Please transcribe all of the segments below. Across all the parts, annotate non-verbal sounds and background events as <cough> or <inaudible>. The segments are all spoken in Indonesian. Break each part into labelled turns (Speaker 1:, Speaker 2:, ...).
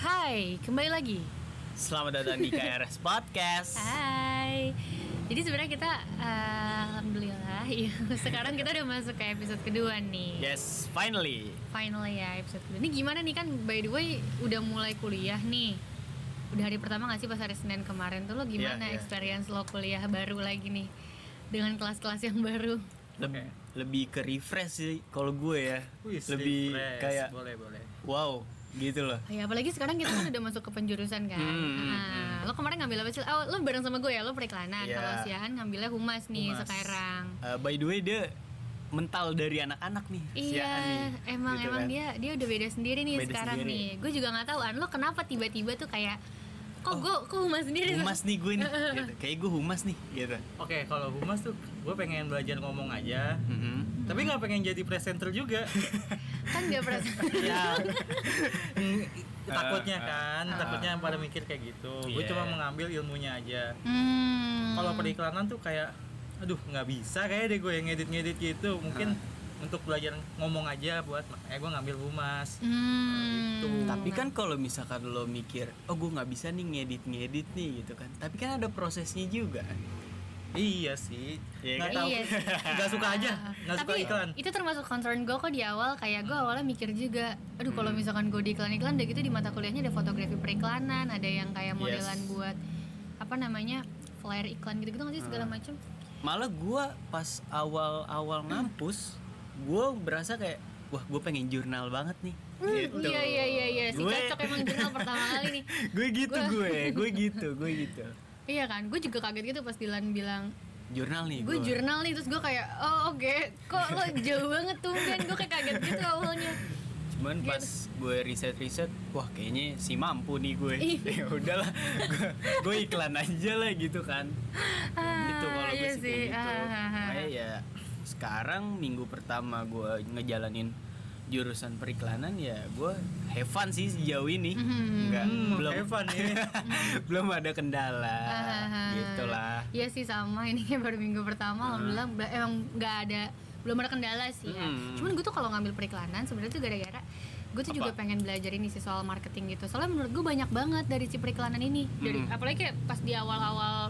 Speaker 1: Hai, kembali lagi.
Speaker 2: Selamat datang di KRS Podcast.
Speaker 1: Ah. Hai. Jadi sebenarnya kita eh, alhamdulillah ya <laughs> sekarang kita udah masuk ke episode kedua nih.
Speaker 2: Yes, finally.
Speaker 1: Finally ya episode kedua. Ini gimana nih kan by the way udah mulai kuliah nih. Udah hari pertama nggak sih pas hari Senin kemarin tuh lo gimana
Speaker 2: Iya, iya.
Speaker 1: experience lo kuliah baru lagi nih dengan kelas-kelas yang baru.
Speaker 2: Leb- Lebih ke refresh sih kalau gue ya. lebih
Speaker 3: refresh.
Speaker 2: kayak
Speaker 3: boleh boleh.
Speaker 2: wow gitu loh.
Speaker 1: Ya apalagi sekarang kita kan udah masuk ke penjurusan kan.
Speaker 2: Hmm,
Speaker 1: Nah, Lo kemarin ngambil apa sih? Oh, lo bareng sama gue ya, lo periklanan.
Speaker 2: Iya.
Speaker 1: Kalau Siahan ngambilnya humas nih
Speaker 2: Humas.
Speaker 1: sekarang.
Speaker 2: Eh, by the way dia mental dari anak-anak nih. si
Speaker 1: Iya,
Speaker 2: Aan nih,
Speaker 1: emang
Speaker 2: gitu
Speaker 1: emang
Speaker 2: kan.
Speaker 1: dia dia udah beda sendiri nih
Speaker 2: Beda
Speaker 1: sekarang
Speaker 2: sendiri.
Speaker 1: nih. Gue juga nggak tahu an lo kenapa tiba-tiba tuh kayak kok gue kok humas sendiri
Speaker 2: Oh. Humas nih gue nih. gitu. Kayak gue humas nih gitu.
Speaker 3: Oke kalau humas tuh gue pengen belajar ngomong aja.
Speaker 2: Mhm.
Speaker 3: Tapi nggak pengen jadi presenter
Speaker 2: <laughs>
Speaker 3: juga.
Speaker 1: <laughs> kan gak berasa. <laughs>
Speaker 3: ya. mm, takutnya
Speaker 2: Ah, ah,
Speaker 3: kan,
Speaker 1: ah.
Speaker 3: takutnya pada mikir kayak gitu. Gue
Speaker 2: Iya.
Speaker 3: cuma mengambil ilmunya aja.
Speaker 1: Hmm.
Speaker 3: Kalau periklanan tuh kayak, aduh nggak bisa kayak deh gue yang ngedit-ngedit gitu. Mungkin
Speaker 2: Ah.
Speaker 3: untuk belajar ngomong aja buat makanya gue ngambil humas.
Speaker 1: Hmm.
Speaker 3: Gitu.
Speaker 2: Tapi kan kalau misalkan lo mikir, oh gue nggak bisa nih ngedit-ngedit nih gitu kan. Tapi kan ada prosesnya juga.
Speaker 3: Iya sih.
Speaker 2: Iya
Speaker 3: Nggak
Speaker 2: kan?
Speaker 3: tahu.
Speaker 1: Iya sih.
Speaker 3: Nggak suka aja. Nggak suka
Speaker 1: Tapi
Speaker 3: iklan.
Speaker 1: itu termasuk concern gue kok di awal kayak gue awalnya mikir juga, aduh kalau
Speaker 2: Hmm.
Speaker 1: misalkan gue di iklan-iklan udah gitu di mata kuliahnya ada fotografi periklanan, ada yang kayak
Speaker 2: Yes.
Speaker 1: modelan buat apa namanya flyer iklan gitu-gitu nggak sih
Speaker 2: Ah.
Speaker 1: segala macam.
Speaker 2: malah gua pas awal-awal ngampus gua berasa kayak wah gue pengen jurnal banget nih
Speaker 1: Hmm, Iya iya iya iya si
Speaker 2: Gitu. Gue-
Speaker 1: cocok emang jurnal pertama kali nih.
Speaker 2: gue gitu
Speaker 1: Gua-
Speaker 2: gue gue gitu gue gitu
Speaker 1: Iya kan, gue juga kaget gitu pas Dilan bilang
Speaker 2: jurnal nih
Speaker 1: gue
Speaker 2: gua.
Speaker 1: jurnal nih terus gue kayak oh oke kok lo jauh banget tuh kan gue kayak kaget gitu awalnya.
Speaker 2: cuman
Speaker 1: Iya.
Speaker 2: pas gue riset riset wah kayaknya si mampu nih gue
Speaker 1: Ih.
Speaker 2: <laughs> ya udahlah gue gue iklan aja lah gitu kan
Speaker 1: Ah,
Speaker 2: gitu kalau gue
Speaker 1: iya
Speaker 2: sih kayak gitu
Speaker 1: Ah, ah, ah.
Speaker 2: Makanya ya sekarang minggu pertama gue ngejalanin jurusan periklanan ya gue have fun sih sejauh ini
Speaker 1: Mhm.
Speaker 2: Nggak-
Speaker 3: Hmm,
Speaker 2: belum
Speaker 3: have fun ya.
Speaker 2: <laughs> belum ada kendala
Speaker 1: Ah,
Speaker 2: gitulah
Speaker 1: Iya sih sama <laughs> ini kayak baru minggu pertama alhamdulillah bela- emang nggak ada belum ada kendala sih ya.
Speaker 2: Hmm.
Speaker 1: Cuman gue tuh kalau ngambil periklanan sebenarnya tuh gara-gara gue tuh juga
Speaker 2: Apa?
Speaker 1: pengen belajar ini sih soal marketing gitu. Soalnya menurut gue banyak banget dari si periklanan ini. Dari
Speaker 2: Hmm.
Speaker 1: apalagi kayak pas di awal-awal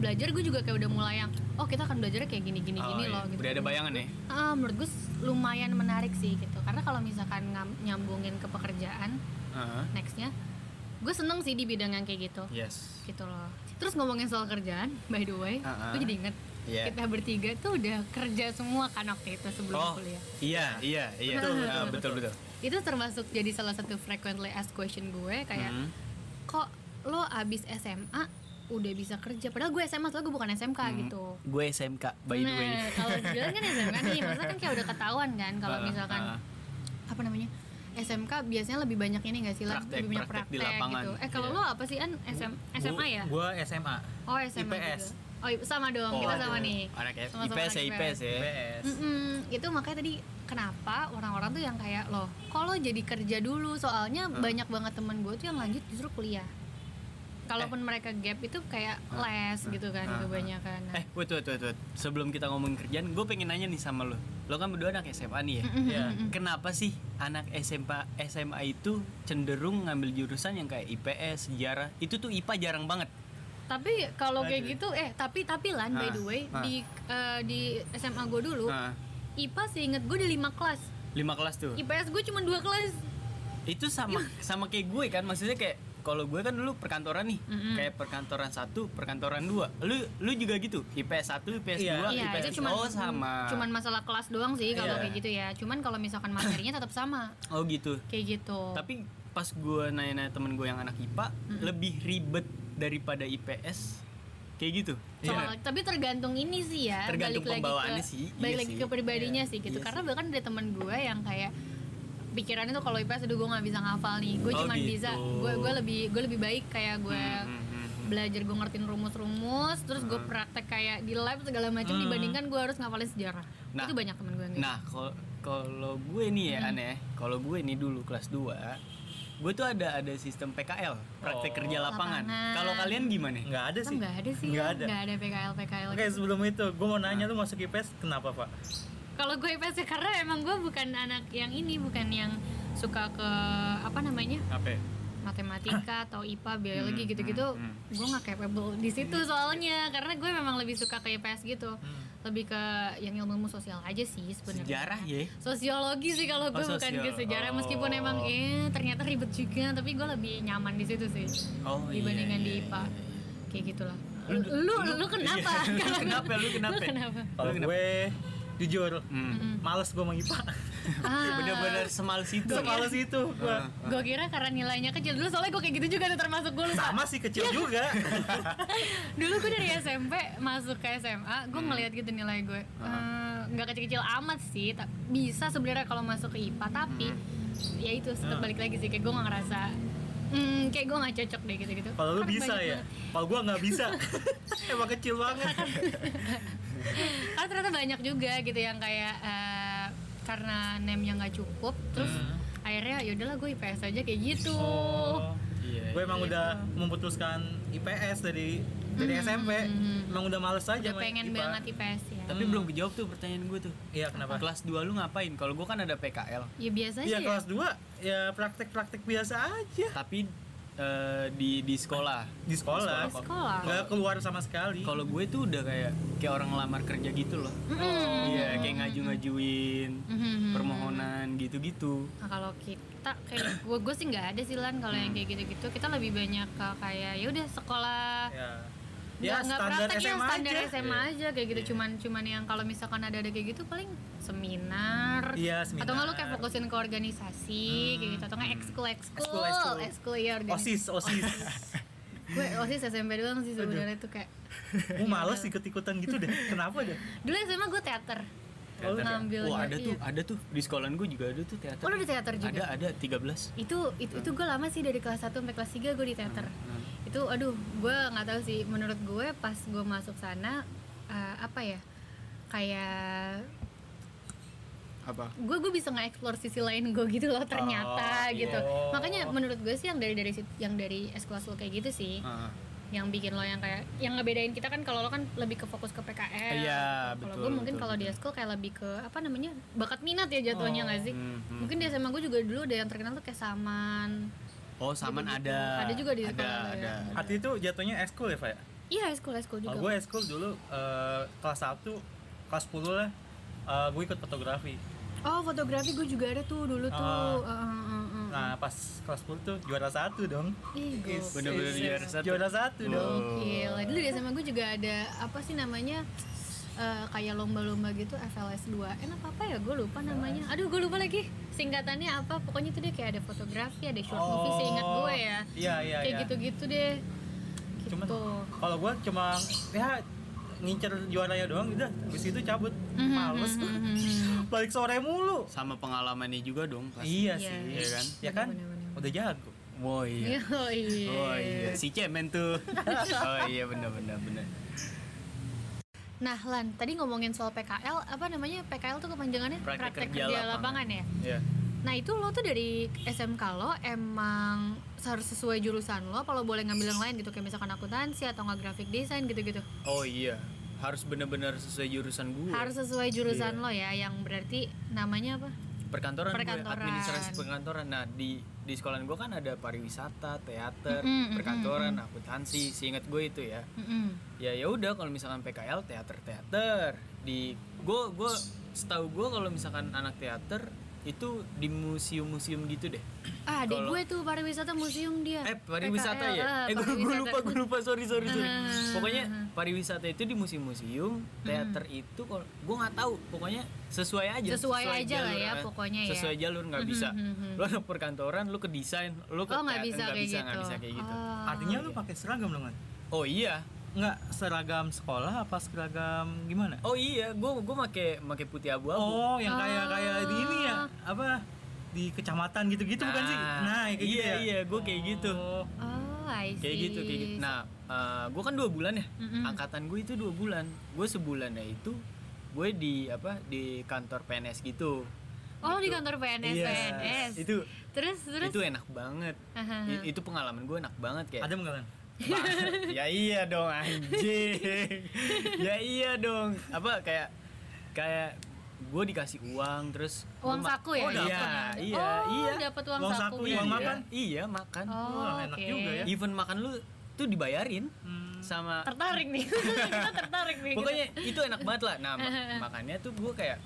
Speaker 1: belajar gue juga kayak udah mulai yang oh kita akan belajar kayak gini-gini
Speaker 2: Oh,
Speaker 1: gini
Speaker 2: iya.
Speaker 1: loh gitu.
Speaker 2: udah ada bayangan ya
Speaker 1: Ah, menurut gue lumayan menarik sih gitu. Karena kalau misalkan ngam- nyambungin ke pekerjaan
Speaker 2: Heeh.
Speaker 1: nextnya, gue seneng sih di bidang yang kayak gitu
Speaker 2: yes
Speaker 1: gitu loh terus ngomongin soal kerjaan by the way
Speaker 2: Uh-uh.
Speaker 1: gue jadi inget
Speaker 2: Iya.
Speaker 1: kita bertiga tuh udah kerja semua kan waktu itu sebelum
Speaker 2: oh
Speaker 1: kuliah
Speaker 2: iya iya iya
Speaker 1: Betul,
Speaker 2: Ah,
Speaker 1: betul,
Speaker 2: betul betul
Speaker 1: itu termasuk jadi salah satu frequently asked question gue kayak
Speaker 2: Mhm.
Speaker 1: kok lo abis SMA udah bisa kerja padahal gue SMA soalnya gue bukan SMK
Speaker 2: Hmm.
Speaker 1: gitu
Speaker 2: gue SMK Mm-hmm. by the way
Speaker 1: Nah, <laughs> kalau Dylan kan SMK nih maksudnya kan kayak udah ketahuan kan kalau
Speaker 2: Ah,
Speaker 1: misalkan
Speaker 2: ah.
Speaker 1: apa namanya SMK biasanya lebih banyak ini nggak sih lah
Speaker 2: Praktek,
Speaker 1: lebih banyak
Speaker 2: praktek
Speaker 1: praktek,
Speaker 2: di lapangan.
Speaker 1: gitu eh kalau
Speaker 2: Iya.
Speaker 1: lo apa sih an SM, SMA ya
Speaker 3: Gue SMA.
Speaker 1: Oh SMA
Speaker 3: IPS.
Speaker 1: juga. Oh i- sama dong,
Speaker 2: Oh,
Speaker 1: kita
Speaker 2: aduh.
Speaker 1: sama nih.
Speaker 2: anak IPS
Speaker 1: Sama-sama
Speaker 2: IPS ya
Speaker 1: anak
Speaker 2: IPS ya
Speaker 3: IPS.
Speaker 1: Mm-mm, itu makanya tadi kenapa orang-orang tuh yang kayak loh, kalau jadi kerja dulu soalnya banyak banget temen gue tuh yang lanjut justru kuliah. Kalaupun
Speaker 2: Eh.
Speaker 1: mereka gap itu kayak les gitu kan
Speaker 2: ah, ah.
Speaker 1: kebanyakan. Nah,
Speaker 2: Eh, wait, wait, wait, wait. Sebelum kita ngomongin kerjaan, gue pengen nanya nih sama lo. Lo kan berdua anak SMA nih ya.
Speaker 3: Ya.
Speaker 2: Kenapa sih anak SMA SMA itu cenderung ngambil jurusan yang kayak IPS, sejarah? Itu tuh IPA jarang banget.
Speaker 1: <laughs> Tapi kalau kayak
Speaker 3: Aduh.
Speaker 1: gitu eh tapi tapi lan by
Speaker 2: Ah,
Speaker 1: the way
Speaker 2: ah.
Speaker 1: di eh, di SMA gue dulu
Speaker 2: Nah,
Speaker 1: IPA seinget gue di 5 kelas.
Speaker 2: lima kelas tuh.
Speaker 1: IPS gue cuma dua kelas.
Speaker 2: itu sama
Speaker 1: Iya.
Speaker 2: sama kayak gue kan maksudnya kayak kalau gue kan dulu perkantoran nih
Speaker 1: Mm-mm.
Speaker 2: kayak perkantoran satu perkantoran dua lu lu juga gitu IPS 1 IPS 2
Speaker 3: Iya.
Speaker 1: Iya,
Speaker 2: IPS
Speaker 1: itu cuman
Speaker 2: oh sama
Speaker 1: cuman masalah kelas doang sih kalau
Speaker 2: Iya.
Speaker 1: kayak gitu ya. Cuman kalau misalkan materinya tetap sama
Speaker 2: oh gitu
Speaker 1: kayak gitu.
Speaker 2: tapi pas gue nanya-nanya temen gue yang anak IPA lebih ribet daripada IPS kayak gitu
Speaker 1: Soal- tapi tergantung ini sih ya,
Speaker 2: Tergantung
Speaker 1: balik lagi
Speaker 2: pembawaannya
Speaker 1: ke
Speaker 2: sih, iya
Speaker 1: balik lagi
Speaker 2: sih.
Speaker 1: ke pribadinya sih gitu.
Speaker 2: Iya
Speaker 1: Karena bahkan ada teman gue yang kayak pikirannya tuh kalau IPS aduh gue nggak bisa ngafal nih. Gue
Speaker 2: Oh,
Speaker 1: cuman
Speaker 2: gitu.
Speaker 1: bisa gue gue lebih gue lebih baik kayak gue
Speaker 2: Hmm, hmm, hmm, hmm.
Speaker 1: belajar gue ngertiin rumus-rumus terus gue praktek kayak di lab segala macam
Speaker 3: Hmm.
Speaker 1: dibandingkan gue harus ngafalin sejarah.
Speaker 2: Nah.
Speaker 1: Itu banyak teman gue yang gitu.
Speaker 2: Nah, kal- kalau gue nih ya aneh, kalau gue nih dulu kelas 2 gue tuh ada ada sistem PKL, praktek
Speaker 3: Oh.
Speaker 2: kerja lapangan.
Speaker 1: Lapangan.
Speaker 2: Kalau kalian gimana?
Speaker 3: Nggak ada
Speaker 1: Kan
Speaker 3: sih.
Speaker 1: nggak ada sih,
Speaker 3: Nggak
Speaker 1: ya,
Speaker 3: ada.
Speaker 1: nggak ada PKL PKL.
Speaker 3: Oke sebelum itu, gue mau nanya lu masuk IPS kenapa pak?
Speaker 1: Kalau gue IPS ya, karena emang gue bukan anak yang ini, bukan yang suka ke apa namanya
Speaker 3: Apa?
Speaker 1: matematika atau IPA biologi
Speaker 2: Hmm,
Speaker 1: gitu-gitu
Speaker 2: hmm, hmm. iya.
Speaker 1: gue nggak capable di situ soalnya karena gue memang lebih suka ke IPS gitu
Speaker 3: Hmm.
Speaker 1: lebih ke yang ilmu sosial aja sih sebenarnya
Speaker 2: Sejarah ya?
Speaker 1: sosiologi sih kalau gue
Speaker 2: Oh,
Speaker 1: bukan ke
Speaker 2: sosial.
Speaker 1: sejarah meskipun
Speaker 2: Oh.
Speaker 1: emang eh ternyata ribet juga tapi gue lebih nyaman di situ sih
Speaker 2: Oh
Speaker 1: Dibandingkan di IPA. kayak gitulah
Speaker 2: iya. Lu-
Speaker 1: lu lu, lu kenapa
Speaker 2: <laughs> Iya. Lu kenapa? Lu kenapa?
Speaker 1: Lu kenapa?
Speaker 2: <laughs>
Speaker 3: Kalau gue jujur
Speaker 2: Hmm.
Speaker 1: Mm-mm.
Speaker 3: males gue mau IPA.
Speaker 1: Ah.
Speaker 2: Bener-bener semal situ.
Speaker 3: Gue males
Speaker 1: ya?
Speaker 3: itu gue.
Speaker 2: Ah.
Speaker 1: Gue kira karena nilainya kecil dulu soalnya gue kayak gitu juga tuh termasuk gue lupa.
Speaker 3: Sama sih kecil
Speaker 1: Iya.
Speaker 3: juga.
Speaker 1: Dulu gue dari SMP masuk ke SMA,
Speaker 3: Hmm.
Speaker 1: gue ngeliat gitu nilai gue. Eh, nggak kecil-kecil amat sih, ta- bisa sebenarnya kalau masuk ke IPA tapi ya itu tetap
Speaker 3: Ah.
Speaker 1: balik lagi sih kayak gue nggak ngerasa hmm, kayak gue nggak cocok deh gitu-gitu.
Speaker 3: Kalau lu
Speaker 1: Kan
Speaker 3: bisa
Speaker 1: banyak
Speaker 3: ya.
Speaker 1: banget.
Speaker 3: Kalau gue nggak bisa. <laughs> Emang kecil banget.
Speaker 1: Karena ternyata banyak juga gitu yang kayak eh, karena name-nya nggak cukup, terus akhirnya ya udahlah gue IPS aja kayak gitu.
Speaker 3: Hmm. Oh.
Speaker 2: Iya.
Speaker 3: Gue emang udah memutuskan IPS dari dari
Speaker 1: Hmm.
Speaker 3: SMP. Emang udah males aja
Speaker 1: Udah
Speaker 3: sama
Speaker 1: pengen
Speaker 3: IPA.
Speaker 1: banget IPS ya.
Speaker 2: Tapi belum kejawab tuh pertanyaan gue tuh.
Speaker 3: Iya kenapa?
Speaker 2: Mm. Kelas 2 lu ngapain? Kalau gue kan ada PKL.
Speaker 1: Ya biasa
Speaker 3: Iya
Speaker 1: sih.
Speaker 3: kelas 2 ya praktek-praktek biasa aja
Speaker 2: Tapi eh, di di sekolah.
Speaker 3: di sekolah.
Speaker 1: Di sekolah.
Speaker 3: Nggak keluar sama sekali.
Speaker 2: Kalau gue tuh udah kayak kayak orang ngelamar kerja gitu loh.
Speaker 1: Mm-mm.
Speaker 2: Iya, kayak ngaju-ngajuin
Speaker 1: Mhm.
Speaker 2: permohonan gitu-gitu.
Speaker 1: Nah, kalau kita kayak
Speaker 3: <clears throat>
Speaker 1: gue gue sih nggak ada sih lan kalau
Speaker 3: Hmm.
Speaker 1: yang kayak gitu-gitu kita lebih banyak ke kayak ya udah sekolah
Speaker 3: ya. Ya
Speaker 1: nggak nggak
Speaker 3: standar
Speaker 1: praktek ya
Speaker 3: SMA
Speaker 1: standar
Speaker 3: aja.
Speaker 1: SMA aja kayak gitu
Speaker 2: Iya.
Speaker 1: cuman cuman yang kalau misalkan ada ada kayak gitu paling seminar
Speaker 3: Iya, seminar. Hmm.
Speaker 1: atau nggak lu kayak fokusin ke organisasi kayak gitu atau nggak ekskul
Speaker 3: Ekskul,
Speaker 1: ekskul
Speaker 3: ekskul.
Speaker 1: ekskul ya organisasi
Speaker 3: OSIS, OSIS.
Speaker 1: <laughs> gue osis SMP doang sih sebenarnya tuh kayak
Speaker 3: Gue males ikut-ikutan gitu
Speaker 1: <laughs>
Speaker 3: deh. Kenapa deh?
Speaker 1: dulu SMA gue teater
Speaker 3: Teater ya?
Speaker 1: ngambil
Speaker 2: Wah, Oh, ada tuh, ada tuh di sekolahan gue juga ada tuh teater.
Speaker 1: Oh, lu di teater juga?
Speaker 2: Ada, ada 13.
Speaker 1: itu itu itu gue lama sih dari kelas 1 sampai kelas 3 gue di teater
Speaker 2: Hmm,
Speaker 1: itu aduh gue nggak tahu sih menurut gue pas gue masuk sana eh, apa ya kayak
Speaker 2: Apa?
Speaker 1: gue gue bisa nge-explore sisi lain gue gitu loh ternyata
Speaker 2: Oh,
Speaker 1: gitu
Speaker 3: iya.
Speaker 1: makanya menurut gue sih yang dari dari situ- yang dari eskul lo kayak gitu sih
Speaker 2: Hmm. Ah,
Speaker 1: yang bikin lo yang kayak yang ngebedain kita kan kalau lo kan lebih ke fokus ke PKL kalau
Speaker 2: Iya, betul,
Speaker 1: gue mungkin
Speaker 2: betul,
Speaker 1: kalau di eskul kayak lebih ke apa namanya bakat minat ya jatuhnya nggak sih
Speaker 2: hmm, hmm.
Speaker 1: mungkin di SMA gue juga dulu ada yang terkenal tuh kayak saman
Speaker 2: Oh, saman ada.
Speaker 1: Ada juga di
Speaker 2: ada,
Speaker 1: sekolah lo ya?
Speaker 2: ada, ada.
Speaker 3: Artinya itu jatuhnya eskul ya, Pak?
Speaker 1: iya eskul eskul juga
Speaker 3: Kalau gue eskul dulu eh, kelas 1, kelas 10 lah eh, gue ikut fotografi.
Speaker 1: Oh fotografi gue juga ada tuh dulu tuh.
Speaker 3: Ah.
Speaker 1: Eh, eh, eh, eh.
Speaker 3: Nah, pas kelas 10 tuh juara satu dong.
Speaker 1: Ih,
Speaker 3: Is-
Speaker 1: gokil.
Speaker 2: Bener-bener
Speaker 3: is-
Speaker 2: juara satu.
Speaker 3: Juara satu dong.
Speaker 1: Gokil. Dulu di SMA gue juga ada apa sih namanya eh, kayak lomba-lomba gitu FLS 2 Enak apa ya? Gue lupa namanya. Aduh gue lupa lagi singkatannya apa. Pokoknya tuh dia kayak ada fotografi, ada short movie. Seingat gue ya.
Speaker 3: Oh. Iya, iya,
Speaker 1: kayak
Speaker 3: iya.
Speaker 1: gitu-gitu deh. Gitu.
Speaker 3: Cuman kalau gue cuma ya ngincer juaranya doang udah habis itu cabut.
Speaker 1: Mhm,
Speaker 3: Males.
Speaker 1: mhm, mhm, mhm.
Speaker 3: Balik sore mulu.
Speaker 2: Sama pengalamannya juga dong pasti.
Speaker 3: Iya
Speaker 1: Iya.
Speaker 3: sih,
Speaker 2: Iya kan?
Speaker 3: Ya kan?
Speaker 1: Bener-bener.
Speaker 3: Udah jago.
Speaker 2: Wow, iya.
Speaker 1: <laughs> Oh iya.
Speaker 2: Oh iya, si cemen
Speaker 1: <laughs>
Speaker 2: tuh. Oh iya benar benar benar.
Speaker 1: Nah Lan, tadi ngomongin soal PKL, apa namanya PKL tuh kepanjangannya
Speaker 2: Praktek
Speaker 1: kerja,
Speaker 2: Kerja
Speaker 1: lapangan.
Speaker 2: Lapangan.
Speaker 1: ya.
Speaker 2: Iya.
Speaker 1: Nah itu lo tuh dari SMK lo emang harus sesuai jurusan lo, apa lo boleh ngambil yang lain gitu kayak misalkan akuntansi atau nggak graphic design gitu-gitu.
Speaker 2: Oh iya, harus benar-benar sesuai jurusan gue.
Speaker 1: Harus sesuai jurusan lo ya, yang berarti namanya apa?
Speaker 2: perkantoran, gue,
Speaker 1: Perkantoran.
Speaker 2: administrasi perkantoran. Nah, di di sekolahan gue kan ada pariwisata, teater,
Speaker 1: Mm-mm, mm-mm,
Speaker 2: perkantoran, akuntansi, seingat gue itu ya.
Speaker 1: Mm-mm.
Speaker 2: Ya ya udah kalau misalkan PKL teater-teater di gue gue setahu gue kalau misalkan anak teater itu di museum-museum gitu deh.
Speaker 1: Ah, adik
Speaker 2: Kalau-
Speaker 1: gue tuh pariwisata museum dia.
Speaker 2: Eh pariwisata
Speaker 1: PKL,
Speaker 2: ya?
Speaker 1: ah,
Speaker 2: eh gue
Speaker 1: pariwisata.
Speaker 2: lupa gue lupa sorry sorry sorry.
Speaker 1: Ah.
Speaker 2: Pokoknya pariwisata itu di museum-museum,
Speaker 1: Mm-hmm.
Speaker 2: teater itu kalau gue nggak tahu. Pokoknya sesuai aja.
Speaker 1: Sesuai aja lah ya,
Speaker 2: eh,
Speaker 1: pokoknya ya.
Speaker 2: Sesuai jalur nggak bisa.
Speaker 1: Mhm, mhm, mhm.
Speaker 2: Lu anak perkantoran, lu ke desain, lu ke
Speaker 1: Oh nggak
Speaker 2: teater,
Speaker 1: bisa
Speaker 2: nggak
Speaker 1: kayak
Speaker 2: bisa,
Speaker 1: gitu.
Speaker 2: nggak bisa kayak gitu.
Speaker 1: Ah.
Speaker 3: Artinya lu pakai seragam dong kan?
Speaker 2: Oh iya.
Speaker 3: Enggak seragam sekolah apa seragam gimana?
Speaker 2: Oh iya, gue gue make make putih abu-abu.
Speaker 3: Oh, yang kayak kayak di ini ya,
Speaker 1: Ah.
Speaker 3: apa di kecamatan gitu-gitu bukan sih? Nah, kayak gitu
Speaker 2: iya
Speaker 3: ya.
Speaker 2: iya, gue kayak gitu.
Speaker 3: Oh.
Speaker 1: Oh, I see.
Speaker 2: Kayak gitu, kayak gitu. Nah, gue kan dua bulan ya.
Speaker 1: Mm-mm.
Speaker 2: Angkatan gue itu dua bulan. Gue sebulannya itu gue di apa di kantor PNS gitu.
Speaker 1: Oh di kantor PNS,
Speaker 2: Iya,
Speaker 1: PNS.
Speaker 2: Itu
Speaker 1: Terus terus. Uh-huh.
Speaker 2: itu enak banget.
Speaker 1: Ahaha.
Speaker 2: I- itu pengalaman gue enak banget kayak. <laughs>
Speaker 3: Ada enggak kan?
Speaker 2: Ba- ya iya dong <laughs> anjing. ya iya dong. Apa kayak kayak gue dikasih uang terus
Speaker 1: Uang
Speaker 2: gua ma-
Speaker 1: saku ya
Speaker 2: oh, iya
Speaker 1: maksudnya?
Speaker 2: iya
Speaker 1: Oh,
Speaker 2: iya
Speaker 1: dapat uang,
Speaker 3: Uang
Speaker 1: saku.
Speaker 3: saku,
Speaker 1: ya?
Speaker 2: iya,
Speaker 3: uang makan?
Speaker 2: iya makan
Speaker 1: Oh,
Speaker 3: Wah, enak
Speaker 1: oke.
Speaker 3: juga ya.
Speaker 2: even makan lu tuh dibayarin
Speaker 3: Hmm.
Speaker 2: sama
Speaker 1: Tertarik nih. <laughs> Kita tertarik <laughs> nih.
Speaker 2: pokoknya itu enak banget lah nah
Speaker 1: <laughs>
Speaker 2: mak- makannya tuh gue kayak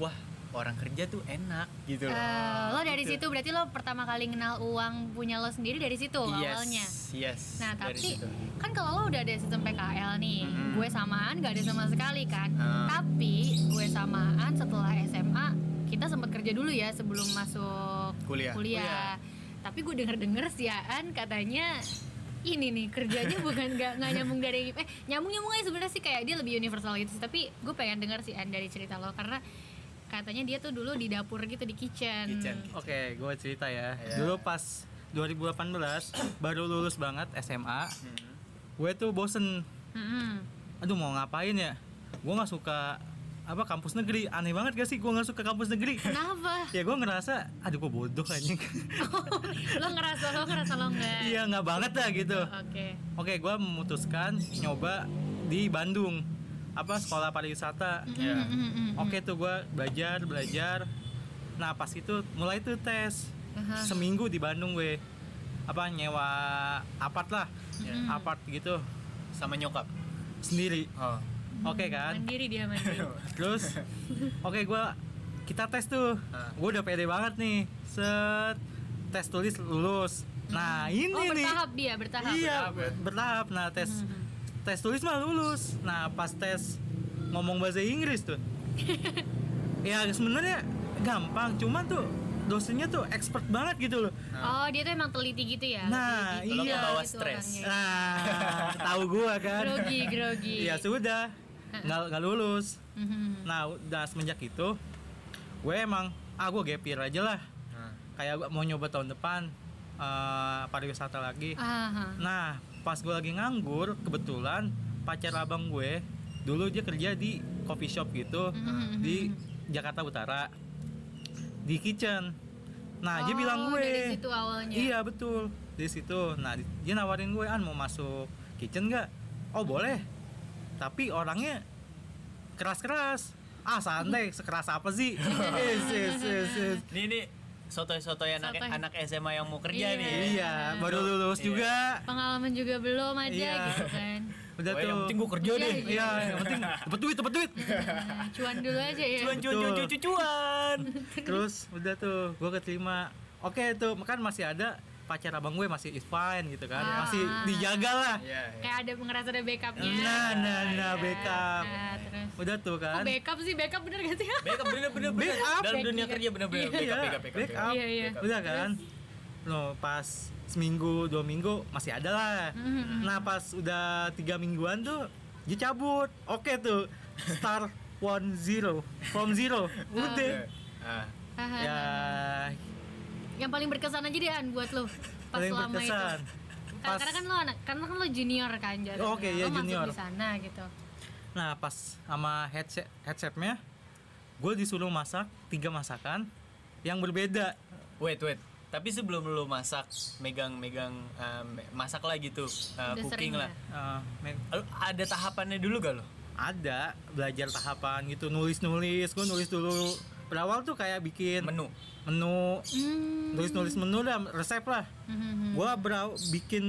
Speaker 2: wah orang kerja tuh enak gitu loh
Speaker 1: Eh, lo dari
Speaker 2: Gitu.
Speaker 1: situ berarti lo pertama kali kenal uang punya lo sendiri dari situ
Speaker 2: yes,
Speaker 1: awalnya.
Speaker 2: yes
Speaker 1: Nah tapi
Speaker 2: dari situ.
Speaker 1: kan kalau lo udah ada sistem PKL nih,
Speaker 2: Mhm.
Speaker 1: gue samaan gak ada sama sekali kan.
Speaker 2: Ah.
Speaker 1: Tapi gue samaan setelah SMA kita sempat kerja dulu ya sebelum masuk
Speaker 2: Kuliah.
Speaker 1: kuliah. Tapi gue denger denger siaan katanya ini nih
Speaker 2: <laughs>
Speaker 1: kerjanya bukan nggak nggak nyambung dari eh nyambung nyambung aja sebenarnya sih kayak dia lebih universal gitu sih. Tapi gue pengen denger sih An dari cerita lo karena katanya dia tuh dulu di dapur gitu di kitchen.
Speaker 2: Kitchen.
Speaker 3: Oke, gue cerita ya.
Speaker 2: Iya.
Speaker 3: Dulu pas 2018 baru lulus banget SMA,
Speaker 2: Hmm.
Speaker 3: gue tuh bosen.
Speaker 1: Mhm.
Speaker 3: Aduh mau ngapain ya? Gue nggak suka apa kampus negeri. Aneh banget gak sih gue nggak suka kampus
Speaker 1: <laughs>
Speaker 3: negeri?
Speaker 1: Kenapa?
Speaker 3: ya gue ngerasa, aduh gue bodoh anjing.
Speaker 1: lo ngerasa lo ngerasa lo nggak?
Speaker 3: Iya nggak banget lah gitu.
Speaker 1: Oke.
Speaker 3: Oke, gue memutuskan nyoba di Bandung apa sekolah pariwisata.
Speaker 1: Mm,
Speaker 2: Ya.
Speaker 1: mm, mm, mm, mm.
Speaker 3: Oke tuh gue belajar belajar. Nah pas itu mulai tuh tes
Speaker 1: Aha.
Speaker 3: seminggu di Bandung gue apa nyewa apart lah
Speaker 2: Ya.
Speaker 1: Mm.
Speaker 3: apart gitu
Speaker 2: sama nyokap
Speaker 3: sendiri.
Speaker 2: oh
Speaker 1: Mm-hmm.
Speaker 3: Oke kan.
Speaker 1: Mandiri dia
Speaker 3: <laughs>
Speaker 1: mandiri. Oh, <laughs>
Speaker 3: Terus oke gua kita tes tuh.
Speaker 2: Ah.
Speaker 3: Gue udah pede banget nih. Set tes tulis lulus. Nah ini
Speaker 1: oh
Speaker 3: nih.
Speaker 1: bertahap dia bertahap.
Speaker 3: Iya
Speaker 2: bertahap ya.
Speaker 3: bertahap. Nah tes
Speaker 1: Hmm.
Speaker 3: tes tulis mah lulus. Nah pas tes ngomong bahasa Inggris
Speaker 1: <laughs>
Speaker 3: tuh. ya sebenarnya gampang. Cuman tuh dosennya tuh expert banget gitu loh.
Speaker 1: Oh dia tuh emang teliti gitu ya.
Speaker 3: Nah,
Speaker 1: lebih detail
Speaker 2: Kalau
Speaker 3: iya.
Speaker 2: bawa
Speaker 1: gitu
Speaker 2: stres.
Speaker 1: orangnya.
Speaker 3: Nah
Speaker 1: <laughs>
Speaker 3: tahu gua kan.
Speaker 1: Grogi grogi.
Speaker 3: Ya sudah nggak nggak lulus.
Speaker 1: Mhm.
Speaker 3: Nah, udah semenjak itu gue emang ah gue gap year aja lah.
Speaker 2: Nah,
Speaker 3: Kayak gue mau nyoba tahun depan eh, pariwisata lagi.
Speaker 1: Aha.
Speaker 3: Nah, pas gue lagi nganggur, kebetulan pacar abang gue dulu dia kerja di coffee shop gitu
Speaker 1: Mhm.
Speaker 3: di Jakarta Utara di kitchen. Nah, dia
Speaker 1: Oh,
Speaker 3: bilang gue
Speaker 1: Dari situ awalnya.
Speaker 3: Iya betul di situ. Nah di- dia nawarin gue an mau masuk kitchen nggak? Oh boleh. Tapi orangnya keras-keras. Ah santai sekeras apa
Speaker 1: <laughs>
Speaker 3: sih? <laughs> Is, is, is, is.
Speaker 2: ini ini sotoy-sotoy anak
Speaker 1: Sotoy.
Speaker 2: anak SMA yang mau
Speaker 1: Iya.
Speaker 2: kerja nih
Speaker 3: Iya baru lulus
Speaker 2: Iya.
Speaker 3: juga.
Speaker 1: Pengalaman juga belum aja
Speaker 3: Iya.
Speaker 1: gitu kan.
Speaker 3: Udah
Speaker 2: Wah,
Speaker 3: tuh.
Speaker 2: yang penting gue kerja
Speaker 1: Iya,
Speaker 2: deh
Speaker 3: Iya yang
Speaker 2: <laughs>
Speaker 3: penting dapat duit dapat duit.
Speaker 1: Nah, cuan dulu aja ya.
Speaker 2: cuan cuan cuan cuan cuan, cuan
Speaker 3: Terus udah tuh gue keterima. Oke tuh kan masih ada pacar abang gue masih is fine gitu kan
Speaker 1: Ah.
Speaker 3: masih dijaga lah.
Speaker 2: Iya, iya.
Speaker 1: Kayak ada ngerasa ada backupnya.
Speaker 3: Nah nah nah
Speaker 1: Iya.
Speaker 3: backup.
Speaker 1: Nah, terus.
Speaker 3: Udah tuh
Speaker 1: Oh,
Speaker 3: kan.
Speaker 1: backup sih backup bener gak sih? <laughs>
Speaker 2: backup bener bener bener
Speaker 3: Backup.
Speaker 2: dalam dunia
Speaker 1: Backing.
Speaker 2: kerja bener bener
Speaker 3: Iya,
Speaker 2: backup backup backup,
Speaker 3: backup.
Speaker 1: Iya iya.
Speaker 3: udah kan no pas seminggu dua minggu masih ada lah
Speaker 1: Mhm.
Speaker 3: nah pas udah tiga mingguan tuh dia cabut oke tuh star one zero
Speaker 1: <laughs>
Speaker 3: from
Speaker 1: Oh,
Speaker 3: zero udah
Speaker 2: Ah.
Speaker 1: Aha.
Speaker 3: ya
Speaker 1: Yang paling berkesan aja deh An buat lo pas
Speaker 3: paling
Speaker 1: selama
Speaker 3: berkesan
Speaker 1: itu. Ka-
Speaker 3: pas
Speaker 1: Karena kan lo anak, karena kan lo junior kan jadi.
Speaker 3: Oh, oke, iya,
Speaker 1: lo
Speaker 3: junior.
Speaker 1: Masuk di sana gitu.
Speaker 3: nah pas sama headset headsetnya gue disuruh masak tiga masakan yang berbeda
Speaker 2: wait wait tapi sebelum lu masak megang-megang eh, me- masak lah gitu eh,
Speaker 1: Udah
Speaker 2: cooking
Speaker 1: sering ya?
Speaker 2: lah
Speaker 3: Eh, men-
Speaker 2: Lu ada tahapannya dulu gak lo
Speaker 3: ada belajar tahapan gitu nulis nulis gue nulis dulu berawal tuh kayak bikin
Speaker 2: menu
Speaker 3: menu
Speaker 1: Hmm.
Speaker 3: nulis nulis menu dah resep lah
Speaker 1: Mhm.
Speaker 3: gua berau- bikin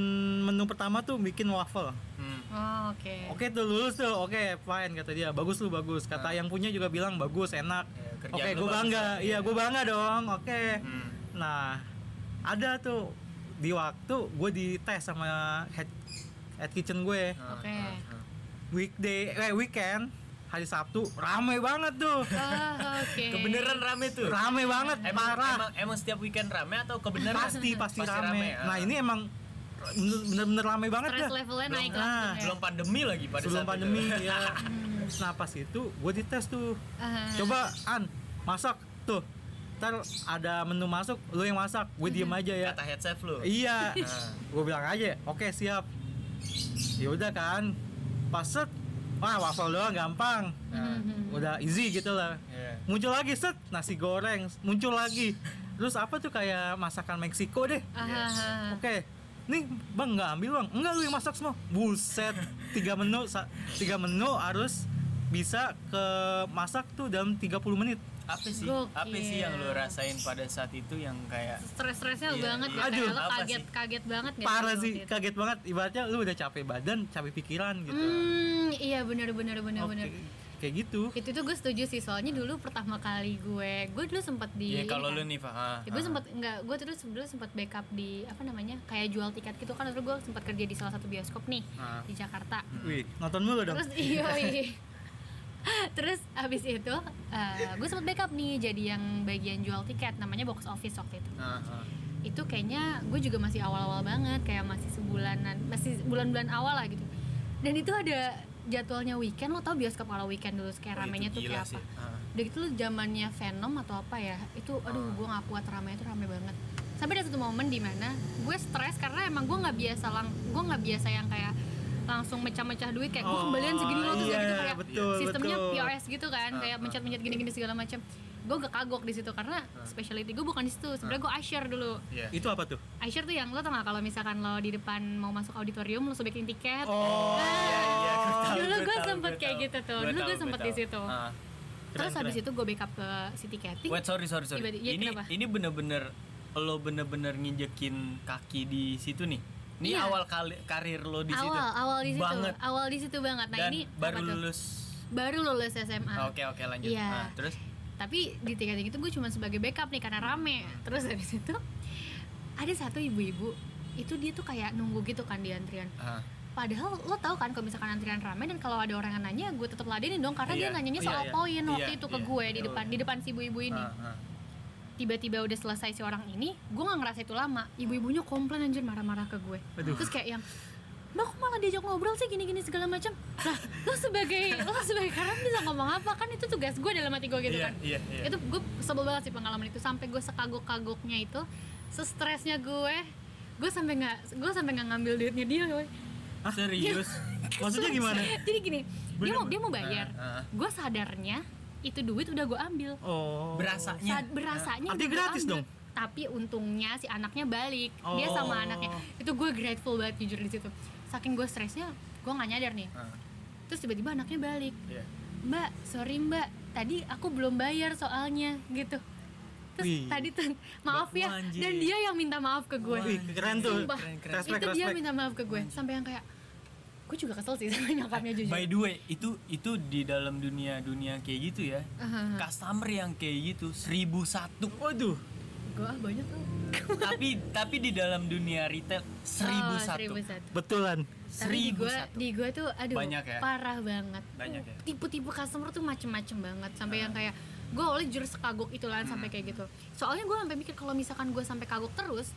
Speaker 3: menu pertama tuh bikin waffle
Speaker 2: Hmm.
Speaker 1: Oh, oke.
Speaker 3: oke tuh lulus tuh oke fine kata dia bagus lu bagus kata yang punya juga bilang bagus enak
Speaker 2: Ya, Nah. kerjaan lu
Speaker 3: oke gua
Speaker 2: bagus
Speaker 3: bangga
Speaker 2: lah.
Speaker 3: iya gua bangga dong oke
Speaker 2: Hmm.
Speaker 3: nah ada tuh di waktu gue dites sama head head kitchen gue
Speaker 1: Oke.
Speaker 3: Hmm. weekday eh weekend hari Sabtu rame banget <laughs>
Speaker 1: Oh,
Speaker 3: tuh <laughs>
Speaker 1: oke.
Speaker 2: kebeneran rame tuh
Speaker 3: rame banget
Speaker 2: Emang,
Speaker 3: parah
Speaker 2: emang emang setiap weekend rame atau kebenaran?
Speaker 3: pasti kan? pasti, rame.
Speaker 2: ya.
Speaker 3: Nah ini emang bener-bener rame banget
Speaker 1: Stress
Speaker 3: dah.
Speaker 1: levelnya naik
Speaker 3: Belum-
Speaker 1: langsung
Speaker 3: ah,
Speaker 1: ya. Hmm.
Speaker 2: belum pandemi lagi pada
Speaker 3: Sebelum
Speaker 2: saat itu.
Speaker 3: pandemi ya. Nah pas itu gue dites tuh.
Speaker 1: Aha.
Speaker 3: Coba An masak tuh. Ntar ada menu masuk, lu yang masak, gue diem aja ya.
Speaker 2: <laughs> Kata head chef lu.
Speaker 3: <laughs> Iya.
Speaker 2: Ah.
Speaker 3: gue bilang aja, oke siap. Ya udah kan. Pas set, wah waffle doang gampang.
Speaker 1: Mhm.
Speaker 3: Nah, Udah easy gitu lah.
Speaker 2: Iya.
Speaker 3: Muncul lagi set nasi goreng, muncul lagi. Terus apa tuh kayak masakan Meksiko deh.
Speaker 1: Aha.
Speaker 3: Oke. Nih, Bang nggak ambil, Bang. Enggak lu yang masak semua. Buset. Tiga menu, sa- tiga menu harus bisa ke masak tuh dalam 30 menit.
Speaker 2: apa sih
Speaker 1: Gokil.
Speaker 2: apa sih yang lo rasain pada saat itu yang kayak
Speaker 1: Stres-stresnya
Speaker 2: Iya,
Speaker 1: banget
Speaker 2: iya.
Speaker 1: ya, kayak
Speaker 3: Aduh,
Speaker 1: lo
Speaker 2: apa
Speaker 1: kaget
Speaker 2: sih?
Speaker 1: kaget banget nggak
Speaker 3: Parah
Speaker 1: waktu
Speaker 3: sih,
Speaker 1: itu?
Speaker 3: kaget banget. Ibaratnya lu udah capek badan, capek pikiran gitu.
Speaker 1: Hmm, iya bener bener bener
Speaker 3: Oke,
Speaker 1: bener.
Speaker 3: Kayak gitu.
Speaker 1: Itu tuh gue setuju sih soalnya dulu pertama kali gue, gue dulu sempet di.
Speaker 3: Iya,
Speaker 2: ya kalau
Speaker 1: ini
Speaker 2: lo
Speaker 1: kan.
Speaker 2: nih pak ah,
Speaker 1: Ya, gue
Speaker 2: ah.
Speaker 1: sempet nggak, gue tuh dulu sebelum sempet backup di apa namanya kayak jual tiket gitu kan dulu gue sempet kerja di salah satu bioskop nih
Speaker 3: Ah.
Speaker 1: di Jakarta.
Speaker 3: Wih, nonton dulu dong.
Speaker 1: Terus <laughs> iya iya. Terus abis itu eh, gue sempet backup nih jadi yang bagian jual tiket namanya box office waktu itu.
Speaker 2: Ah, ah.
Speaker 1: itu kayaknya gue juga masih awal-awal banget kayak masih sebulanan masih bulan-bulan awal lah gitu dan itu ada jadwalnya weekend lo tau bioskop kalau weekend dulu kayak
Speaker 2: Oh, itu
Speaker 1: ramenya tuh
Speaker 2: gila
Speaker 1: kayak
Speaker 2: sih.
Speaker 1: apa
Speaker 2: Ah.
Speaker 1: udah gitu lo zamannya Venom atau apa ya itu aduh gue nggak kuat ramenya tuh rame banget sampai ada satu momen di mana gue stres karena emang gue nggak biasa lang gue nggak biasa yang kayak langsung mecah-mecah duit kayak gue
Speaker 3: Oh,
Speaker 1: kembalian segini lo tuh
Speaker 3: iya,
Speaker 1: gitu kayak
Speaker 3: betul,
Speaker 1: sistemnya
Speaker 3: betul.
Speaker 1: POS gitu kan
Speaker 2: Ah,
Speaker 1: kayak
Speaker 2: ah.
Speaker 1: mencet-mencet gini-gini segala macam gue gak kagok di situ karena specialty gue bukan di situ sebenarnya
Speaker 2: Ah.
Speaker 1: gue usher dulu
Speaker 2: Iya.
Speaker 3: Itu apa tuh?
Speaker 1: Aisyah tuh yang lo tau gak kalau misalkan lo di depan mau masuk auditorium lo sobekin tiket.
Speaker 3: Oh,
Speaker 2: Iya, <laughs> gua tahu,
Speaker 1: dulu gue
Speaker 2: tahu,
Speaker 1: sempet
Speaker 2: gua
Speaker 1: kayak
Speaker 2: tahu.
Speaker 1: gitu tuh.
Speaker 2: Gua
Speaker 1: Dulu
Speaker 2: tahu,
Speaker 1: gue sempet di
Speaker 2: tahu.
Speaker 1: situ.
Speaker 2: Ah.
Speaker 1: Terus
Speaker 3: Keren,
Speaker 1: habis itu gue backup ke si ticketing.
Speaker 2: Wait, sorry, sorry, sorry.
Speaker 1: Tiba-tiba- iya,
Speaker 2: ini
Speaker 1: kenapa?
Speaker 2: ini bener-bener lo bener-bener nginjekin kaki di situ nih. Ini
Speaker 1: Iya.
Speaker 2: awal kali karir lo di situ.
Speaker 1: awal awal di situ.
Speaker 2: Banget.
Speaker 1: Awal di situ banget. Nah
Speaker 2: Dan
Speaker 1: ini
Speaker 2: baru
Speaker 1: apa tuh?
Speaker 2: lulus.
Speaker 1: Baru lulus SMA.
Speaker 2: Ah, Oke, oke, lanjut.
Speaker 1: Iya.
Speaker 2: Ah, terus
Speaker 1: Tapi di ticketing itu gue cuma sebagai backup nih karena rame. Terus habis itu ada satu ibu-ibu itu dia tuh kayak nunggu gitu kan di antrian.
Speaker 2: ah.
Speaker 1: Padahal lo tau kan kalau misalkan antrian rame dan kalau ada orang yang nanya gue tetap ladenin dong karena
Speaker 2: Iya.
Speaker 1: dia nanyanya
Speaker 2: Iya,
Speaker 1: soal
Speaker 2: iya.
Speaker 1: poin waktu
Speaker 2: Iya,
Speaker 1: itu ke
Speaker 2: iya.
Speaker 1: gue di
Speaker 2: Betul.
Speaker 1: depan di depan si ibu-ibu ini.
Speaker 2: Ah, ah.
Speaker 1: Tiba-tiba udah selesai si orang ini, gue nggak ngerasa itu lama. Ibu-ibunya komplain anjir marah-marah ke gue. Terus kayak yang Mbak kok malah diajak ngobrol sih gini-gini segala macam. Lah, lo sebagai lo sebagai karena bisa ngomong apa kan itu tugas gue dalam hati gue gitu
Speaker 2: Iya,
Speaker 1: kan.
Speaker 2: iya, iya.
Speaker 1: Itu gue sebel banget sih pengalaman itu sampai gue sekagok-kagoknya itu, sestresnya gue, gue sampai nggak gue sampai nggak ngambil duitnya dia. Gue.
Speaker 2: Serius.
Speaker 3: <laughs> Maksudnya gimana?
Speaker 1: Jadi gini, dia mau
Speaker 3: Bener-bener.
Speaker 1: dia mau bayar.
Speaker 2: Ah, ah.
Speaker 1: Gue sadarnya itu duit udah gue ambil.
Speaker 3: Oh.
Speaker 2: Berasanya.
Speaker 1: Saat berasanya
Speaker 3: Artinya
Speaker 1: udah gua
Speaker 3: gratis
Speaker 1: ambil.
Speaker 3: dong?
Speaker 1: Tapi untungnya si anaknya balik. Dia sama
Speaker 3: Oh.
Speaker 1: anaknya. Itu gue grateful banget jujur di situ. Saking gue stresnya, gue nggak nyadar nih.
Speaker 2: Ah,
Speaker 1: Terus tiba-tiba anaknya balik.
Speaker 2: iya.
Speaker 1: Mbak, sorry Mbak, tadi aku belum bayar soalnya gitu. Terus
Speaker 3: Wih.
Speaker 1: tadi tuh maaf ya.
Speaker 2: Anjir.
Speaker 1: Dan dia yang minta maaf ke gue.
Speaker 3: Wih, keren tuh.
Speaker 1: Sumpah.
Speaker 2: Keren, keren.
Speaker 3: Respect,
Speaker 1: itu dia
Speaker 3: respect.
Speaker 1: minta maaf ke gue. Sampai yang kayak gue juga kesel sih sama nyokapnya jujur.
Speaker 2: Iya. By the way, itu itu di dalam dunia dunia kayak gitu ya.
Speaker 1: Ah.
Speaker 2: Customer yang kayak gitu 1001
Speaker 3: Waduh.
Speaker 1: Gue ah, banyak tuh.
Speaker 2: tapi tapi di dalam dunia retail seribu
Speaker 1: Oh,
Speaker 2: satu
Speaker 1: 1001.
Speaker 3: Betulan.
Speaker 1: Tapi di
Speaker 2: seribu
Speaker 1: gue
Speaker 2: satu
Speaker 1: di gue tuh aduh
Speaker 2: Banyak ya?
Speaker 1: parah banget.
Speaker 2: Banyak ya? Ah.
Speaker 1: Tipu-tipu customer tuh macem-macem banget sampai yang kayak gue oleh jurus kagok itu lah sampai
Speaker 2: Hmm.
Speaker 1: kayak gitu. Soalnya gue sampai mikir kalau misalkan gue sampai kagok terus,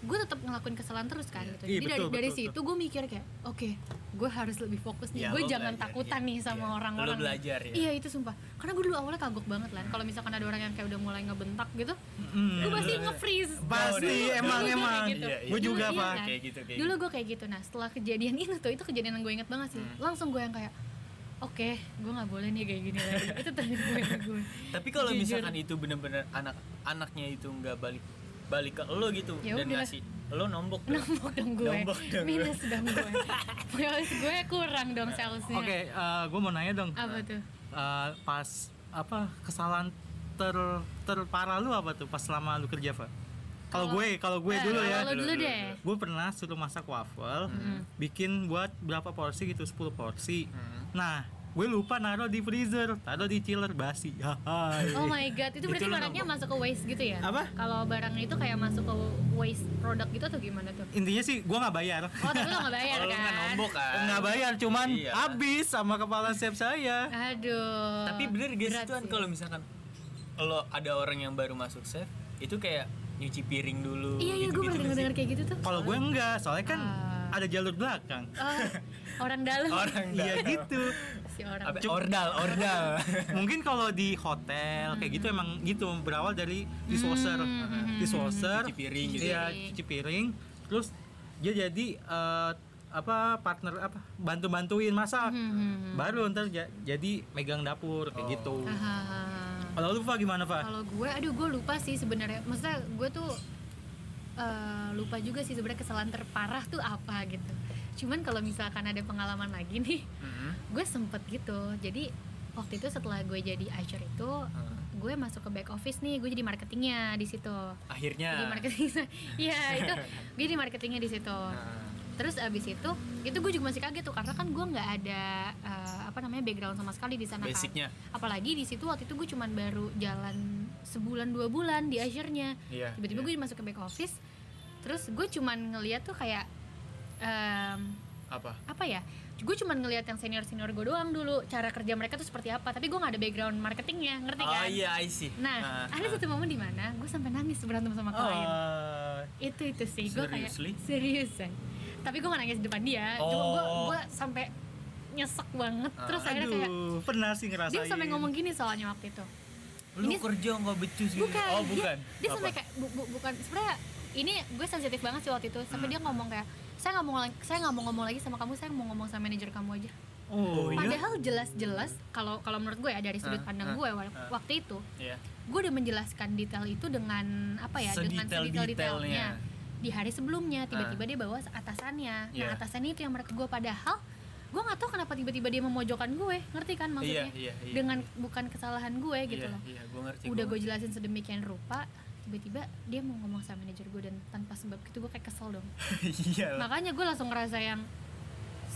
Speaker 1: gue tetap ngelakuin kesalahan terus kan gitu.
Speaker 3: Iya,
Speaker 1: Jadi
Speaker 3: betul,
Speaker 1: dari dari
Speaker 3: betul,
Speaker 1: situ gue mikir kayak oke, gue harus lebih fokus nih.
Speaker 2: Iya,
Speaker 1: gue
Speaker 2: lo
Speaker 1: jangan
Speaker 2: belajar,
Speaker 1: takutan
Speaker 2: iya,
Speaker 1: nih sama
Speaker 2: iya.
Speaker 1: orang-orang.
Speaker 2: Lo belajar ya?
Speaker 1: Iya itu sumpah. Karena gue dulu awalnya kagok banget lah. Kalau misalkan ada orang yang kayak udah mulai ngebentak gitu,
Speaker 3: Mm.
Speaker 1: gue pasti nge-freeze.
Speaker 3: Pasti,
Speaker 1: Dulu-
Speaker 3: emang,
Speaker 1: dulu gue kayak
Speaker 3: emang.
Speaker 1: gitu.
Speaker 2: Hmm. Iya, iya.
Speaker 3: Gue juga,
Speaker 1: Dulu iya
Speaker 3: Pak.
Speaker 1: kan?
Speaker 2: Kayak gitu, kayak
Speaker 1: dulu gue kayak gitu nah setelah kejadian itu tuh itu kejadian yang gue inget banget sih
Speaker 2: Hmm.
Speaker 1: langsung gue yang kayak oke gue nggak boleh nih kayak gini lagi itu tadi gue ke gue
Speaker 2: tapi kalau
Speaker 1: Jujur.
Speaker 2: misalkan itu bener-bener anak anaknya itu nggak balik balik ke lo gitu
Speaker 1: Ya
Speaker 2: dan
Speaker 1: udah.
Speaker 2: ngasih lo nombok dong.
Speaker 1: nombok dong gue
Speaker 2: Nombok dong gue.
Speaker 1: minus dong gue POS gue kurang dong salesnya
Speaker 3: Oke, gue mau nanya dong.
Speaker 1: apa tuh
Speaker 3: Eh, pas apa kesalahan ter terparah lu apa tuh pas selama lu kerja, Pak? Kalau gue, kalau gue
Speaker 1: Eh,
Speaker 3: dulu ya.
Speaker 1: kalau dulu
Speaker 2: Dulu, dulu,
Speaker 1: deh
Speaker 3: Gue pernah suruh masak waffle, bikin buat berapa porsi gitu, 10 porsi.
Speaker 2: Hmm.
Speaker 3: Nah, gue lupa naruh di freezer, taruh di chiller basi. <laughs> Hai.
Speaker 1: Oh my god, itu berarti
Speaker 2: Itu lo
Speaker 1: barangnya masuk ke waste gitu ya?
Speaker 3: Apa?
Speaker 1: Kalau barang itu kayak masuk ke waste produk gitu atau gimana tuh?
Speaker 3: Intinya sih gue nggak bayar.
Speaker 1: Oh, tapi lo nggak bayar
Speaker 2: Kalau lo nggak
Speaker 1: kan?
Speaker 2: nombok kan
Speaker 3: Nggak bayar, cuman
Speaker 2: Iya.
Speaker 3: habis sama kepala chef saya.
Speaker 1: Aduh.
Speaker 2: tapi bener guys
Speaker 1: berat
Speaker 2: itu kan
Speaker 1: sih.
Speaker 2: kalau misalkan lo ada orang yang baru masuk chef itu kayak nyuci piring dulu
Speaker 1: Iya iya, gue pernah
Speaker 2: gitu-gitu nggak sih?
Speaker 1: denger-denger kayak gitu tuh.
Speaker 3: Kalau gue enggak, soalnya kan
Speaker 1: Ah.
Speaker 3: ada jalur belakang.
Speaker 1: Oh, orang dalam.
Speaker 2: orang
Speaker 3: Iya
Speaker 2: dalam.
Speaker 3: gitu.
Speaker 1: si orang
Speaker 2: Apa, ordal ordal
Speaker 3: mungkin kalau di hotel kayak
Speaker 1: Hmm.
Speaker 3: gitu emang gitu berawal dari dishwasher dishwasher
Speaker 2: Cuci piring gitu.
Speaker 3: iya
Speaker 1: Cuci piring.
Speaker 3: cuci piring terus dia jadi eh, apa partner apa bantu bantuin
Speaker 1: Hmm,
Speaker 3: masak baru ntar ja- jadi megang dapur kayak
Speaker 2: Oh.
Speaker 3: gitu
Speaker 1: Hahaha.
Speaker 3: kalau lu Fa, gimana pak
Speaker 1: kalau gue aduh gue lupa sih sebenarnya maksudnya gue tuh eh, lupa juga sih sebenarnya kesalahan terparah tuh apa gitu cuman kalau misalkan ada pengalaman lagi nih <laughs>
Speaker 2: Mhm.
Speaker 1: gue sempet gitu jadi waktu itu setelah gue jadi Azure itu
Speaker 2: Heeh.
Speaker 1: gue masuk ke back office nih gue jadi marketingnya di situ
Speaker 2: akhirnya
Speaker 1: jadi marketing <laughs> ya
Speaker 2: <laughs>
Speaker 1: itu gue di marketingnya di situ
Speaker 2: Heeh.
Speaker 1: terus abis itu itu gue juga masih kaget tuh karena kan gue nggak ada eh, apa namanya background sama sekali di sana kan.
Speaker 2: basicnya
Speaker 1: apalagi di situ waktu itu gue cuman baru jalan sebulan dua bulan di Azure-nya
Speaker 2: iya
Speaker 1: tiba-tiba gue masuk ke back office terus gue cuman ngeliat tuh kayak em,
Speaker 2: apa
Speaker 1: apa ya gue cuman ngeliat yang senior senior gue doang dulu cara kerja mereka tuh seperti apa tapi gue nggak ada background marketingnya ngerti
Speaker 2: oh
Speaker 1: kan
Speaker 2: iya I see
Speaker 1: nah
Speaker 2: Ah,
Speaker 1: ada
Speaker 2: ah.
Speaker 1: satu momen di mana gue sampai nangis berantem sama klien
Speaker 2: Eh,
Speaker 3: Oh,
Speaker 1: itu itu sih gue kayak
Speaker 2: Seriously?
Speaker 1: seriusan tapi gue gak nangis di depan dia cuma gue
Speaker 2: Oh. Ah,
Speaker 1: gue sampai nyesek banget terus akhirnya
Speaker 3: aduh,
Speaker 1: kayak
Speaker 3: pernah sih ngerasain.
Speaker 2: Iya,
Speaker 1: dia sampai ngomong gini soalnya waktu itu
Speaker 2: lu
Speaker 1: ini-
Speaker 2: kerja nggak becus gitu
Speaker 1: bukan,
Speaker 2: oh bukan
Speaker 1: dia, dia sampai kayak bu- bu- bukan sebenarnya ini gue sensitif banget sih waktu itu sampai
Speaker 2: Hmm.
Speaker 1: dia ngomong kayak saya nggak mau lang- saya nggak mau ngomong lagi sama kamu saya mau ngomong sama manajer kamu aja
Speaker 3: Oh,
Speaker 2: Oh,
Speaker 3: iya.
Speaker 1: padahal jelas-jelas kalau kalau menurut gue ya dari sudut
Speaker 2: Ah,
Speaker 1: pandang
Speaker 2: ah,
Speaker 1: gue wa-
Speaker 2: ah.
Speaker 1: waktu itu
Speaker 2: Iya.
Speaker 1: gue udah menjelaskan detail itu dengan apa ya dengan
Speaker 2: Sedetail-detailnya.
Speaker 1: sedetail-detailnya di hari sebelumnya tiba-tiba
Speaker 2: Ah.
Speaker 1: dia bawa atasannya nah
Speaker 2: Iya.
Speaker 1: atasannya itu yang mereka gue padahal gue nggak tahu kenapa tiba-tiba dia memojokkan gue ngerti kan
Speaker 2: iya
Speaker 1: maksudnya
Speaker 2: iya iya
Speaker 1: dengan bukan kesalahan gue gitu
Speaker 2: iya,
Speaker 1: loh
Speaker 2: iya gue ngerti
Speaker 1: udah
Speaker 2: gua
Speaker 1: gue
Speaker 2: ngerti.
Speaker 1: jelasin sedemikian rupa tiba-tiba dia mau ngomong sama manajer gue dan tanpa sebab gitu gue kayak kesel dong
Speaker 2: <laughs> iya lah.
Speaker 1: makanya gue langsung ngerasa yang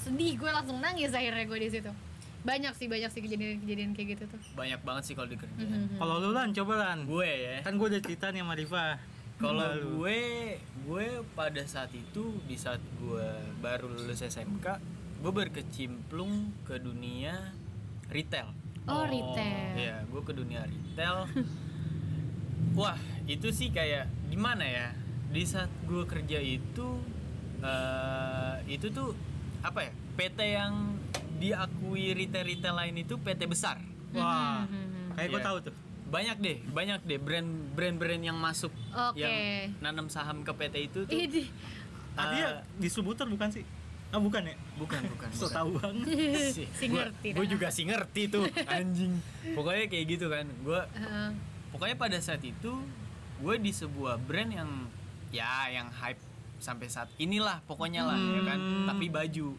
Speaker 1: sedih gue langsung nangis akhirnya gue di situ banyak sih banyak sih kejadian-kejadian kayak gitu tuh
Speaker 2: banyak banget sih Iya. kalau di kerjaan
Speaker 1: Mhm.
Speaker 3: Kalau lu lan coba lan.
Speaker 2: gue ya
Speaker 3: Kan gue udah cerita nih sama Rifa.
Speaker 2: Kalau
Speaker 3: Lalu.
Speaker 2: gue, gue pada saat itu di saat gue baru lulus SMK, gue berkecimplung ke dunia retail.
Speaker 1: oh retail
Speaker 2: Iya, gue ke dunia
Speaker 1: <laughs>
Speaker 2: retail. Wah, itu sih kayak gimana ya? Di saat gue kerja itu, eh, itu tuh apa ya? PT yang diakui retail-retail lain itu PT besar.
Speaker 3: Wah.
Speaker 1: Mhm, mhm.
Speaker 3: Kayak gitu. gue
Speaker 2: Iya.
Speaker 3: tahu tuh.
Speaker 2: Banyak deh, banyak deh brand- brand-brand yang masuk
Speaker 1: Oke.
Speaker 2: yang nanam saham ke PT itu tuh
Speaker 1: Ini
Speaker 2: Ah.
Speaker 3: Artinya distributor bukan sih? Ah bukan ya?
Speaker 2: bukan bukan
Speaker 3: So
Speaker 2: bukan.
Speaker 3: tahu
Speaker 1: <laughs>
Speaker 3: banget.
Speaker 2: sih
Speaker 1: Si ngerti
Speaker 2: gue
Speaker 1: dah.
Speaker 2: juga sih ngerti
Speaker 1: <laughs>
Speaker 2: tuh anjing pokoknya kayak gitu kan gue
Speaker 1: Heeh.
Speaker 2: pokoknya pada saat itu gue di sebuah brand yang ya yang hype sampai saat inilah pokoknya lah ya kan
Speaker 3: Hmm.
Speaker 2: tapi baju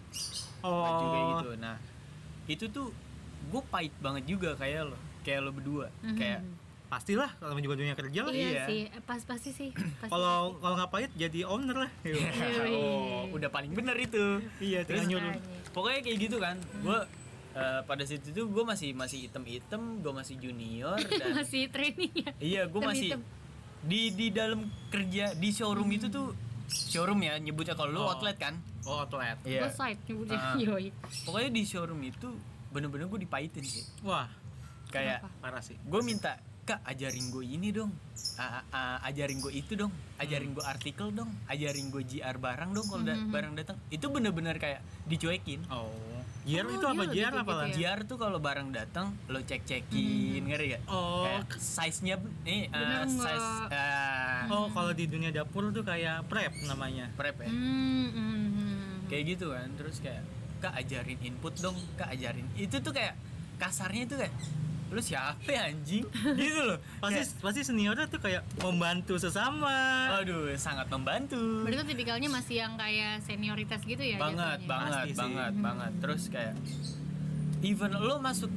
Speaker 2: baju kayak
Speaker 3: Oh.
Speaker 2: gitu nah itu tuh gue pahit banget juga kayak lo kayak lo berdua
Speaker 1: Mhm.
Speaker 2: kayak
Speaker 3: Pastilah kalau juga dunia kerja lah.
Speaker 1: iya,
Speaker 2: iya.
Speaker 1: sih pas pasti sih pasti
Speaker 3: Kalau kalau nggak pahit jadi owner lah.
Speaker 1: Iya.
Speaker 2: oh udah paling bener itu
Speaker 3: iya, tinggal
Speaker 2: Terus-
Speaker 3: nyuruh.
Speaker 2: pokoknya kayak gitu kan gue pada situ tuh gue masih masih item item gue masih
Speaker 1: <laughs>
Speaker 2: junior
Speaker 1: Makanya.
Speaker 2: dan
Speaker 1: masih training ya
Speaker 2: Iya, gue
Speaker 1: Hitam
Speaker 2: masih
Speaker 1: hitam.
Speaker 2: di di dalam kerja di showroom itu tuh showroom ya nyebutnya kalau lu
Speaker 3: Oh.
Speaker 2: outlet kan.
Speaker 3: Oh, outlet.
Speaker 1: gue side nyebutnya
Speaker 2: Ah.
Speaker 1: yoi
Speaker 2: Pokoknya di showroom itu bener-bener gue dipahitin sih.
Speaker 3: Wah,
Speaker 2: Kayak
Speaker 1: Kenapa?
Speaker 3: parah sih.
Speaker 2: gue minta kak ajarin gue ini dong, A- a- ajarin gue itu dong, ajarin gue artikel dong, ajarin gue GR barang dong kalau da-
Speaker 1: Mhm.
Speaker 2: barang datang. Itu bener-bener kayak dicuekin.
Speaker 3: Oh. JR
Speaker 1: Oh,
Speaker 3: itu
Speaker 1: dia
Speaker 3: apa?
Speaker 1: lebih
Speaker 3: JR
Speaker 1: kayak
Speaker 3: apa
Speaker 1: gitu
Speaker 3: lah?
Speaker 1: ya?
Speaker 2: GR tuh kalau barang datang lo cek-cekin, ngeri gak?
Speaker 3: Oh,
Speaker 2: Kayak size-nya eh uh,
Speaker 1: Hmm. Bener
Speaker 2: size
Speaker 1: nggak?
Speaker 2: ah,
Speaker 3: oh kalau di dunia dapur tuh kayak prep namanya.
Speaker 2: prep ya.
Speaker 1: Hmm, hmm, hmm.
Speaker 2: kayak gitu kan terus kayak kak ajarin input dong kak ajarin itu tuh kayak kasarnya tuh kayak lu siapa ya,
Speaker 1: <laughs>
Speaker 2: anjing gitu loh
Speaker 3: Pasti pasti seniornya tuh kayak membantu sesama.
Speaker 2: Kayak, aduh sangat membantu
Speaker 1: berarti kan tipikalnya masih yang kayak senioritas gitu ya
Speaker 2: banget
Speaker 1: jatuhnya?
Speaker 2: banget
Speaker 3: Pasti sih.
Speaker 2: banget
Speaker 1: Hmm.
Speaker 2: banget terus kayak even lu masuk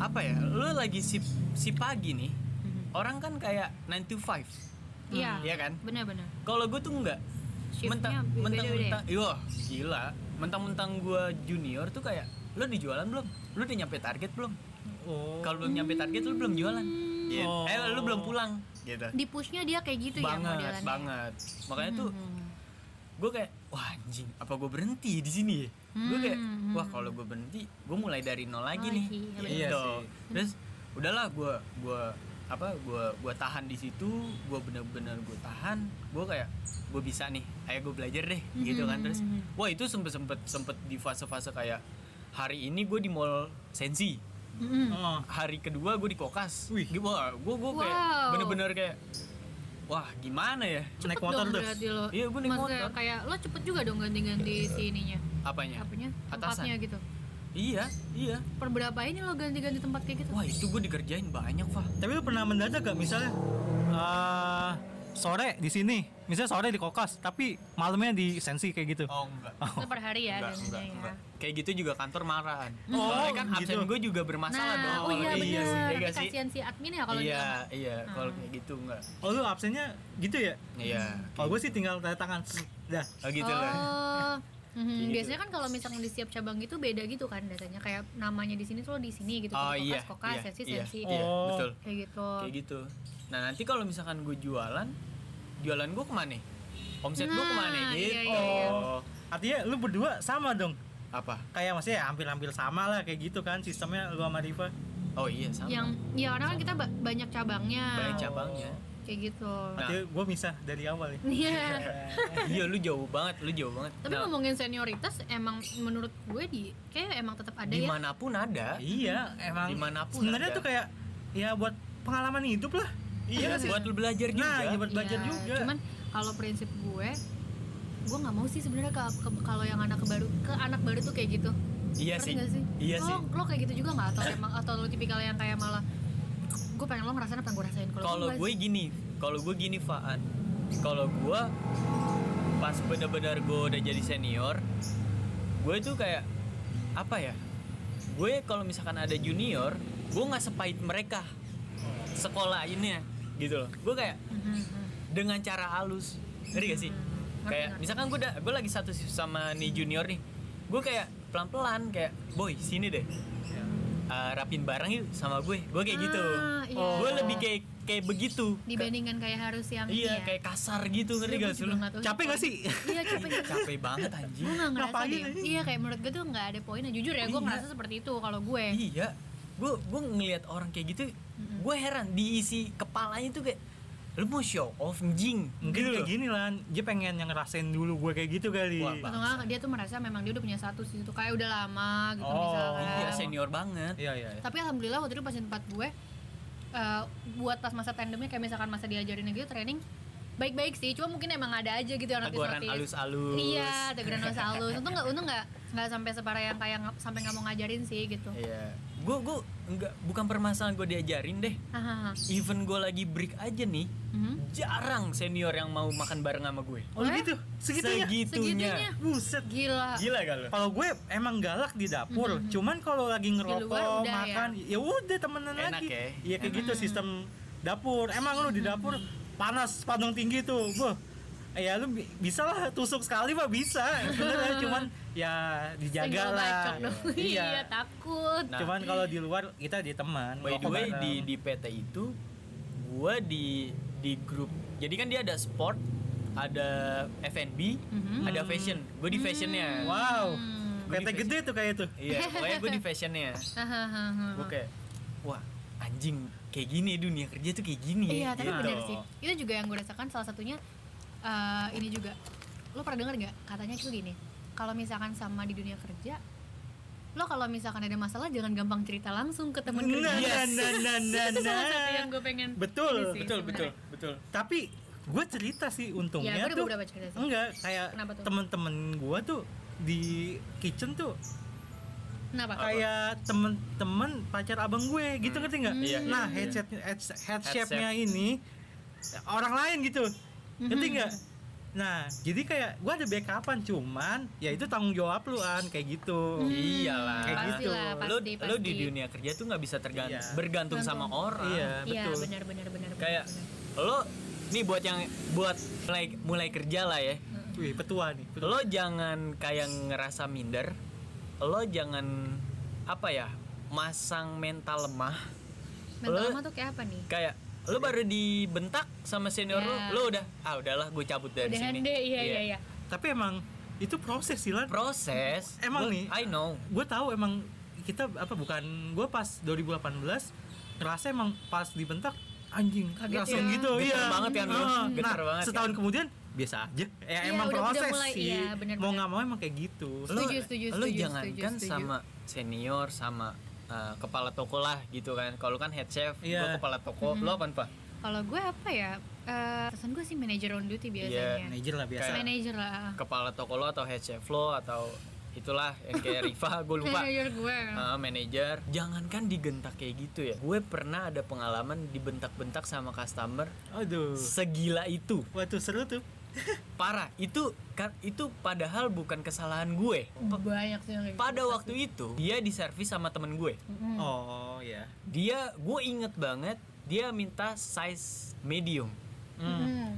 Speaker 2: apa ya lu lagi si si pagi nih
Speaker 1: Mhm.
Speaker 2: orang kan kayak 9 to 5
Speaker 1: iya
Speaker 2: Iya kan
Speaker 1: benar-benar
Speaker 2: kalau gue tuh enggak
Speaker 1: Shiftnya
Speaker 2: mentang
Speaker 1: beda-beda
Speaker 2: mentang
Speaker 1: ya?
Speaker 2: mentang yo gila mentang mentang gue junior tuh kayak lu di jualan belum lu udah nyampe target belum
Speaker 3: Oh.
Speaker 2: kalau belum nyampe target lu belum jualan Gitu.
Speaker 3: Oh.
Speaker 2: eh lu belum pulang gitu
Speaker 1: di pushnya dia kayak gitu ya
Speaker 2: banget
Speaker 1: modelannya
Speaker 2: banget makanya tuh
Speaker 1: Hmm.
Speaker 2: gue kayak wah anjing apa gue berhenti di sini ya gue kayak
Speaker 1: Hmm.
Speaker 2: wah kalau gue berhenti gue mulai dari nol lagi
Speaker 1: Lagi,
Speaker 2: nih
Speaker 1: ya
Speaker 3: Iya
Speaker 2: Gitu.
Speaker 3: sih.
Speaker 2: terus udahlah gue gue apa gue gue tahan di situ gue bener-bener gue tahan gue kayak gue bisa nih ayo gue belajar deh gitu kan terus
Speaker 1: Hmm.
Speaker 2: wah itu sempet sempet sempet di fase-fase kayak hari ini gue di mall sensi
Speaker 1: Mm-mm.
Speaker 3: Oh.
Speaker 2: hari kedua gue di kokas
Speaker 3: Wih.
Speaker 2: wah gue gue kayak
Speaker 1: Wow.
Speaker 2: bener-bener kayak wah gimana ya
Speaker 1: Cepet
Speaker 3: Naik motor
Speaker 1: dong
Speaker 3: tuh.
Speaker 1: berarti lo.
Speaker 2: Iya, gua naik
Speaker 1: Maksudnya
Speaker 2: motor.
Speaker 1: kayak lo cepet juga dong ganti-ganti si ininya
Speaker 2: apanya
Speaker 1: apanya
Speaker 2: Atasan.
Speaker 1: tempatnya gitu
Speaker 2: iya iya
Speaker 1: perberapa ini lo ganti-ganti tempat kayak gitu
Speaker 2: wah itu gue dikerjain banyak Fah
Speaker 3: Tapi lu pernah mendadak gak misalnya eh sore di sini misalnya sore di kokas tapi malamnya di sensi kayak gitu
Speaker 2: oh enggak
Speaker 1: Itu per hari ya
Speaker 2: Enggak,
Speaker 1: biasanya
Speaker 2: enggak,
Speaker 1: ya.
Speaker 2: enggak. Kayak gitu juga kantor marahan.
Speaker 3: Oh,
Speaker 2: Soalnya kan absen
Speaker 3: gitu.
Speaker 2: gue juga bermasalah
Speaker 1: nah,
Speaker 2: dong.
Speaker 1: oh iya
Speaker 2: iya sih,
Speaker 1: bener.
Speaker 2: iya
Speaker 1: Nanti
Speaker 2: gak sih?
Speaker 1: kasihan si admin ya kalau
Speaker 2: iya,
Speaker 1: dia
Speaker 2: iya, kalau
Speaker 1: Ah.
Speaker 2: kayak gitu enggak.
Speaker 3: oh lu absennya gitu ya
Speaker 2: Iya.
Speaker 3: kalau gue sih tinggal tanda tangan dah
Speaker 2: Oh gitu
Speaker 1: oh.
Speaker 2: lah.
Speaker 1: mhm.
Speaker 2: gitu.
Speaker 1: biasanya kan kalau misalnya di setiap cabang itu beda gitu kan biasanya kayak namanya di sini tuh lo di sini gitu
Speaker 2: Oh
Speaker 1: Kalau
Speaker 2: iya.
Speaker 1: kokas kokas
Speaker 2: iya,
Speaker 1: sensi
Speaker 2: iya,
Speaker 1: sensi
Speaker 2: Iya,
Speaker 3: Oh.
Speaker 2: betul.
Speaker 1: kayak gitu
Speaker 2: Kayak gitu. Nah, nanti kalau misalkan gue jualan, jualan gue kemana? Omset gue
Speaker 1: Nah,
Speaker 2: kemana
Speaker 1: iya,
Speaker 2: gitu?
Speaker 1: iya, iya.
Speaker 2: Oh,
Speaker 3: artinya lu berdua sama dong
Speaker 2: apa?
Speaker 3: kayak maksudnya ya hampir-hampir sama lah kayak gitu kan sistemnya lu sama Riva
Speaker 2: Oh iya sama.
Speaker 1: yang ya karena kan kita ba- banyak cabangnya
Speaker 2: Banyak Nah. cabangnya.
Speaker 1: kayak gitu
Speaker 3: Oh. artinya gue misah dari awal ya
Speaker 1: iya
Speaker 2: <laughs> iya, lu jauh banget, lu jauh banget.
Speaker 1: tapi
Speaker 2: Nah,
Speaker 1: ngomongin senioritas emang menurut gue di kayak emang tetap ada ya
Speaker 2: dimanapun ada.
Speaker 3: iya emang
Speaker 2: Dimanapun
Speaker 3: sebenarnya
Speaker 2: ada.
Speaker 3: tuh kayak ya buat pengalaman hidup lah
Speaker 2: Iya,
Speaker 3: sih
Speaker 2: buat lu belajar juga.
Speaker 3: nah ya buat belajar
Speaker 1: Iya,
Speaker 3: juga
Speaker 1: cuman kalau prinsip gue gue nggak mau sih sebenarnya ke, ke- kalau yang anak baru ke anak baru tuh kayak gitu
Speaker 2: iya
Speaker 1: Ngerti
Speaker 2: sih.
Speaker 1: nggak sih?
Speaker 2: Iya
Speaker 1: lo,
Speaker 2: sih.
Speaker 1: lo kayak gitu juga nggak atau emang atau lo tipikal yang kayak malah gue pengen lo ngerasain apa yang gue rasain
Speaker 2: Kalau gue gini, kalau gue gini Faan, kalau gue pas benar-benar gue udah jadi senior, gue tuh kayak apa ya? Gue kalau misalkan ada junior, gue nggak sepahit mereka sekolah ini gitu loh. Gue kayak
Speaker 1: Mhm, mhm.
Speaker 2: dengan cara halus, ngerti gak sih?
Speaker 1: Hmm, Ngerti,
Speaker 2: Kayak
Speaker 1: ngerti.
Speaker 2: misalkan gue gue lagi satu shift sama nih junior nih, gue kayak pelan-pelan kayak, boy sini deh,
Speaker 1: Iya.
Speaker 2: eh, rapin barang yuk sama gue, gue kayak gitu.
Speaker 1: Ah, iya.
Speaker 2: Gue lebih kayak kayak begitu.
Speaker 1: dibandingkan kayak harus yang
Speaker 2: Iya,
Speaker 1: ini ya.
Speaker 2: kayak kasar gitu ngerti
Speaker 1: Iya,
Speaker 2: gak
Speaker 1: gue
Speaker 2: sih
Speaker 1: juga
Speaker 2: lu?
Speaker 1: nggak tahu
Speaker 3: capek gak sih
Speaker 1: iya
Speaker 2: <laughs>
Speaker 1: capek
Speaker 2: Ih, Capek banget
Speaker 1: <laughs>
Speaker 2: anjing.
Speaker 1: gue nggak ngerasa
Speaker 3: Ngapain
Speaker 1: deh
Speaker 3: aja?
Speaker 1: iya kayak menurut gue tuh nggak ada poinnya jujur ya gue
Speaker 2: Iya.
Speaker 1: ngerasa seperti itu kalau gue
Speaker 2: Iya. Gue gue ngelihat orang kayak gitu, gue heran diisi kepalanya tuh kayak lu mau show off anjing.
Speaker 3: mungkin
Speaker 2: Gitu
Speaker 3: kayak
Speaker 2: loh.
Speaker 3: gini lah dia pengen yang ngerasain dulu gue kayak gitu kali
Speaker 2: Wah, Bang.
Speaker 1: atau nggak dia tuh merasa memang dia udah punya satu sih itu kayak udah lama gitu
Speaker 3: Oh,
Speaker 1: misalkan
Speaker 2: Iya, senior banget.
Speaker 3: iya iya iya.
Speaker 1: tapi alhamdulillah waktu itu pas di tempat gue eh, buat pas masa tandemnya kayak misalkan masa diajarin gitu training baik-baik sih cuma mungkin emang ada aja gitu yang
Speaker 2: Teguran
Speaker 1: notis-notis.
Speaker 2: alus-alus.
Speaker 1: iya teguran halus halus untung nggak untung nggak nggak sampai separah yang kayak nggak- sampai nggak mau ngajarin sih gitu
Speaker 2: Iya. Gue gue enggak bukan permasalahan gue diajarin deh.
Speaker 1: Hahaha.
Speaker 2: Even gue lagi break aja nih,
Speaker 1: Ah, Mhm.
Speaker 2: jarang senior yang mau makan bareng sama gue.
Speaker 3: oh
Speaker 1: Eh?
Speaker 3: gitu segitunya
Speaker 2: Segitunya.
Speaker 1: Segitunya.
Speaker 3: buset
Speaker 1: gila
Speaker 2: Gila gak lu?
Speaker 3: kalau gue emang galak di dapur cuman kalau lagi ngerokok
Speaker 1: Mm-hmm. luar udah
Speaker 3: makan ya udah temenan
Speaker 2: Enak
Speaker 3: lagi
Speaker 2: ya,
Speaker 3: iya kayak
Speaker 2: enak.
Speaker 3: gitu sistem dapur emang lu
Speaker 1: Mm-hmm.
Speaker 3: di dapur panas padang tinggi tuh Beuh. ya lu bi- bisa lah tusuk sekali mah bisa sebenarnya cuman ya dijaga
Speaker 1: Senggol
Speaker 3: lah
Speaker 1: bacok dong.
Speaker 3: <laughs> iya
Speaker 1: <laughs> iya takut
Speaker 2: Nah.
Speaker 3: cuman kalau di luar kita di teman
Speaker 2: By the
Speaker 3: ngerokok
Speaker 2: way di
Speaker 3: bareng.
Speaker 2: di PT itu gue di di grup. Jadi kan dia ada sport, ada F&B,
Speaker 1: Mhm.
Speaker 2: ada fashion. Gue di fashionnya.
Speaker 3: wow
Speaker 1: Hmm.
Speaker 2: Gua di
Speaker 3: PT gede tuh kayak tuh
Speaker 1: <laughs>
Speaker 2: Iya, pokoknya gue di fashionnya.
Speaker 1: Uh-huh. Hahaha.
Speaker 2: Gue kayak, wah anjing kayak gini dunia kerja tuh kayak gini.
Speaker 1: Iya,
Speaker 2: ya,
Speaker 1: tapi
Speaker 2: gitu.
Speaker 1: benar sih. Itu juga yang gue rasakan salah satunya eh, ini juga. Lo pernah dengar nggak? Katanya itu gini. Kalau misalkan sama di dunia kerja, lo kalau misalkan ada masalah jangan gampang cerita langsung ke temen
Speaker 3: Nah,
Speaker 1: kerja.
Speaker 3: nah, nah, nah, nah,
Speaker 1: <laughs> Itu salah
Speaker 3: nah.
Speaker 1: satu yang gue pengen.
Speaker 3: Betul,
Speaker 1: ini sih
Speaker 2: Betul betul
Speaker 1: sebenarnya.
Speaker 2: betul.
Speaker 3: tapi gue cerita sih untungnya
Speaker 1: Ya, gua ada
Speaker 3: tuh
Speaker 1: beberapa cerita sih.
Speaker 3: enggak kayak
Speaker 1: Kenapa tuh?
Speaker 3: temen-temen gue tuh di kitchen tuh
Speaker 1: Kenapa?
Speaker 3: kayak temen-temen pacar abang gue gitu ngerti nggak?
Speaker 2: Iya, iya,
Speaker 3: nah
Speaker 2: iya.
Speaker 3: headset headset headsetnya ini orang lain gitu ngerti nggak? Nah jadi kayak gue ada backupan cuman ya itu tanggung jawab lu an kayak gitu.
Speaker 2: Iyalah.
Speaker 3: Kayak
Speaker 1: Pasti
Speaker 3: gitu.
Speaker 1: lah,
Speaker 2: lo,
Speaker 1: pasti,
Speaker 2: lo di
Speaker 1: pasti.
Speaker 2: dunia kerja tuh nggak bisa tergantung
Speaker 3: Iya.
Speaker 2: bergantung sama
Speaker 1: Gantung.
Speaker 2: orang
Speaker 3: Iya
Speaker 1: Iya,
Speaker 3: betul.
Speaker 1: benar benar benar.
Speaker 2: kayak
Speaker 1: benar.
Speaker 2: lo nih buat yang buat mulai mulai kerja lah ya
Speaker 1: Hmm.
Speaker 3: Wih petua nih. petua.
Speaker 2: lo jangan kayak ngerasa minder lo jangan apa ya masang mental lemah
Speaker 1: mental
Speaker 2: lo-
Speaker 1: lama tuh kayak apa nih?
Speaker 2: kayak lo baru dibentak sama senior lo
Speaker 1: Ya.
Speaker 2: lo udah ah udahlah gue cabut dari
Speaker 1: Udahan
Speaker 2: sini
Speaker 1: deh, iya iya iya.
Speaker 3: Tapi emang itu proses sih Lan.
Speaker 2: proses
Speaker 3: Emang
Speaker 2: Gua-
Speaker 3: nih?
Speaker 2: I know
Speaker 3: gue tahu emang kita apa bukan gue pas 2018 ngerasa emang pas dibentak anjing
Speaker 1: Kaget
Speaker 3: langsung
Speaker 1: ya.
Speaker 3: gitu
Speaker 2: Geter
Speaker 3: iya
Speaker 2: banget kan lu?
Speaker 3: Ah,
Speaker 2: Geter
Speaker 3: nah,
Speaker 2: banget
Speaker 3: setahun kemudian biasa aja ya, emang
Speaker 1: Iya, udah- udah
Speaker 3: proses
Speaker 1: mulai.
Speaker 3: sih
Speaker 1: Iya, bener,
Speaker 3: mau
Speaker 1: bener.
Speaker 3: nggak mau emang kayak gitu
Speaker 2: lo
Speaker 1: Setuju, setuju,
Speaker 2: lo
Speaker 1: setuju,
Speaker 2: jangankan
Speaker 1: setuju, setuju.
Speaker 2: sama senior sama uh, kepala toko lah gitu kan kalau kan head chef
Speaker 3: Iya.
Speaker 2: gua kepala toko lo apa pak
Speaker 1: Kalau gue apa ya? Eh, pesan gue sih manager on duty biasanya.
Speaker 3: Iya, manajer lah biasa
Speaker 2: Kayak-
Speaker 1: Manager lah.
Speaker 2: kepala toko lo atau head chef lo atau itulah yang kayak Riva <laughs> gue lupa
Speaker 1: Manajer gue.
Speaker 2: Ah, manajer jangankan digentak kayak gitu ya gue pernah ada pengalaman dibentak-bentak sama customer
Speaker 3: Aduh.
Speaker 2: segila itu
Speaker 3: Waduh seru tuh.
Speaker 2: parah itu kan itu padahal bukan kesalahan gue
Speaker 1: Banyak sih yang kayak gitu.
Speaker 2: pada waktu itu dia diservis sama temen gue
Speaker 1: Mm-mm.
Speaker 3: Oh ya.
Speaker 2: dia gue inget banget dia minta size medium
Speaker 1: Mm-mm.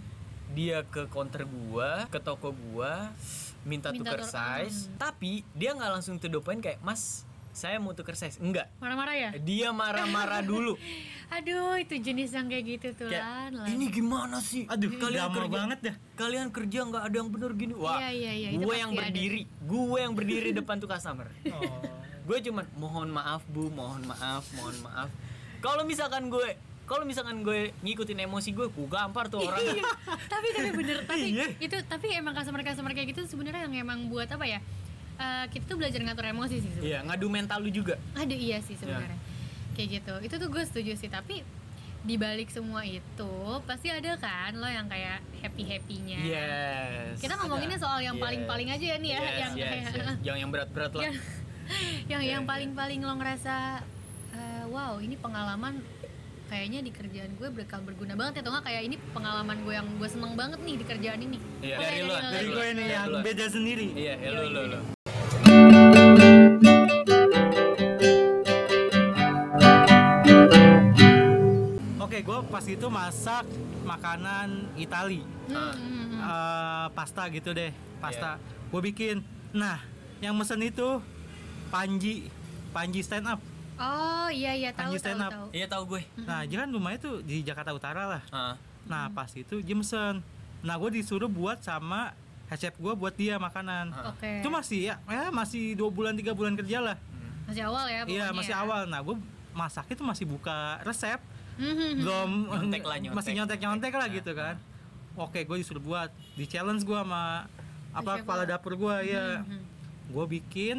Speaker 2: dia ke counter gua ke toko gua
Speaker 1: Minta
Speaker 2: minta, tuker
Speaker 1: tuker,
Speaker 2: size tapi dia nggak langsung to the point kayak mas saya mau tuker size enggak
Speaker 1: Marah-marah ya?
Speaker 2: dia
Speaker 1: <laughs>
Speaker 2: marah-marah dulu
Speaker 1: Aduh, itu jenis yang kayak gitu tuh
Speaker 2: kayak
Speaker 1: Lan, Lan.
Speaker 2: ini gimana sih
Speaker 3: Aduh, drama
Speaker 2: kerja-
Speaker 3: banget dah.
Speaker 2: kalian kerja nggak ada yang bener gini wah
Speaker 1: Iya, iya, iya, itu
Speaker 2: gue
Speaker 1: pasti
Speaker 2: yang
Speaker 1: ada.
Speaker 2: berdiri gue yang berdiri depan tuh customer
Speaker 3: Oh.
Speaker 2: gue cuman mohon maaf bu mohon maaf mohon maaf kalau misalkan gue kalau misalkan gue ngikutin emosi gue gue gampar tuh
Speaker 1: Iya.
Speaker 2: orang
Speaker 1: <laughs> tapi tapi
Speaker 2: <laughs>
Speaker 1: bener tapi
Speaker 2: Iya.
Speaker 1: itu tapi emang customer customer kayak gitu sebenarnya yang emang buat apa ya Eh kita tuh belajar ngatur emosi sih sebenarnya
Speaker 2: iya ngadu mental lu juga
Speaker 1: ada iya sih sebenarnya kayak gitu itu tuh gue setuju sih tapi di balik semua itu pasti ada kan lo yang kayak happy happynya Iya.
Speaker 2: Yes.
Speaker 1: kita ngomonginnya soal yang
Speaker 2: Yes.
Speaker 1: paling-paling aja ya nih ya,
Speaker 2: Yes,
Speaker 1: yang kayak-
Speaker 2: yes,
Speaker 1: Iya.
Speaker 2: yes. Jangan yang berat-berat lah.
Speaker 1: yang <laughs> yang
Speaker 2: Iya,
Speaker 1: yang
Speaker 2: iya.
Speaker 1: paling-paling lo ngerasa eh, wow ini pengalaman kayaknya di kerjaan gue bakal berguna banget ya atau nggak kayak ini pengalaman gue yang gue seneng banget nih di kerjaan ini Oh,
Speaker 2: Iya,
Speaker 1: Oke,
Speaker 2: dari lo,
Speaker 1: lo,
Speaker 3: Dari
Speaker 1: lo.
Speaker 3: gue ini yang beda sendiri.
Speaker 2: Iya, ya lo lo lo.
Speaker 3: Oke, gue pas itu masak makanan Itali.
Speaker 1: Hmm, hmm, Iya. hmm.
Speaker 3: Eh, pasta gitu deh, pasta. Gue bikin. Nah, yang mesen itu Panji, Panji stand up.
Speaker 1: oh iya iya tahu
Speaker 3: Panji
Speaker 1: tahu
Speaker 3: stand up.
Speaker 1: tahu
Speaker 2: Iya tahu gue.
Speaker 1: Hmm.
Speaker 3: Nah, dia kan rumahnya tuh di Jakarta Utara lah.
Speaker 2: Ah.
Speaker 3: Nah, pas itu dia mesen. Nah, gue disuruh buat sama resep gue buat dia makanan.
Speaker 2: Ah.
Speaker 1: oke
Speaker 3: Itu masih ya, eh, masih dua bulan tiga bulan kerja lah.
Speaker 1: masih awal ya
Speaker 3: Iya,
Speaker 1: pokoknya
Speaker 3: masih
Speaker 1: ya.
Speaker 3: awal. Nah, gue masaknya tuh masih buka resep,
Speaker 1: Hmm, hmm, <laughs> hmm.
Speaker 3: belum
Speaker 2: Nyontek lah, nyontek.
Speaker 3: masih nyontek nyontek
Speaker 2: Ah,
Speaker 3: lah
Speaker 1: Iya.
Speaker 3: gitu kan. Oke, gue disuruh buat di challenge gue sama apa
Speaker 1: Chef
Speaker 3: kepala
Speaker 1: lo.
Speaker 3: dapur gue ya.
Speaker 1: Hmm, hmm.
Speaker 3: Gue bikin,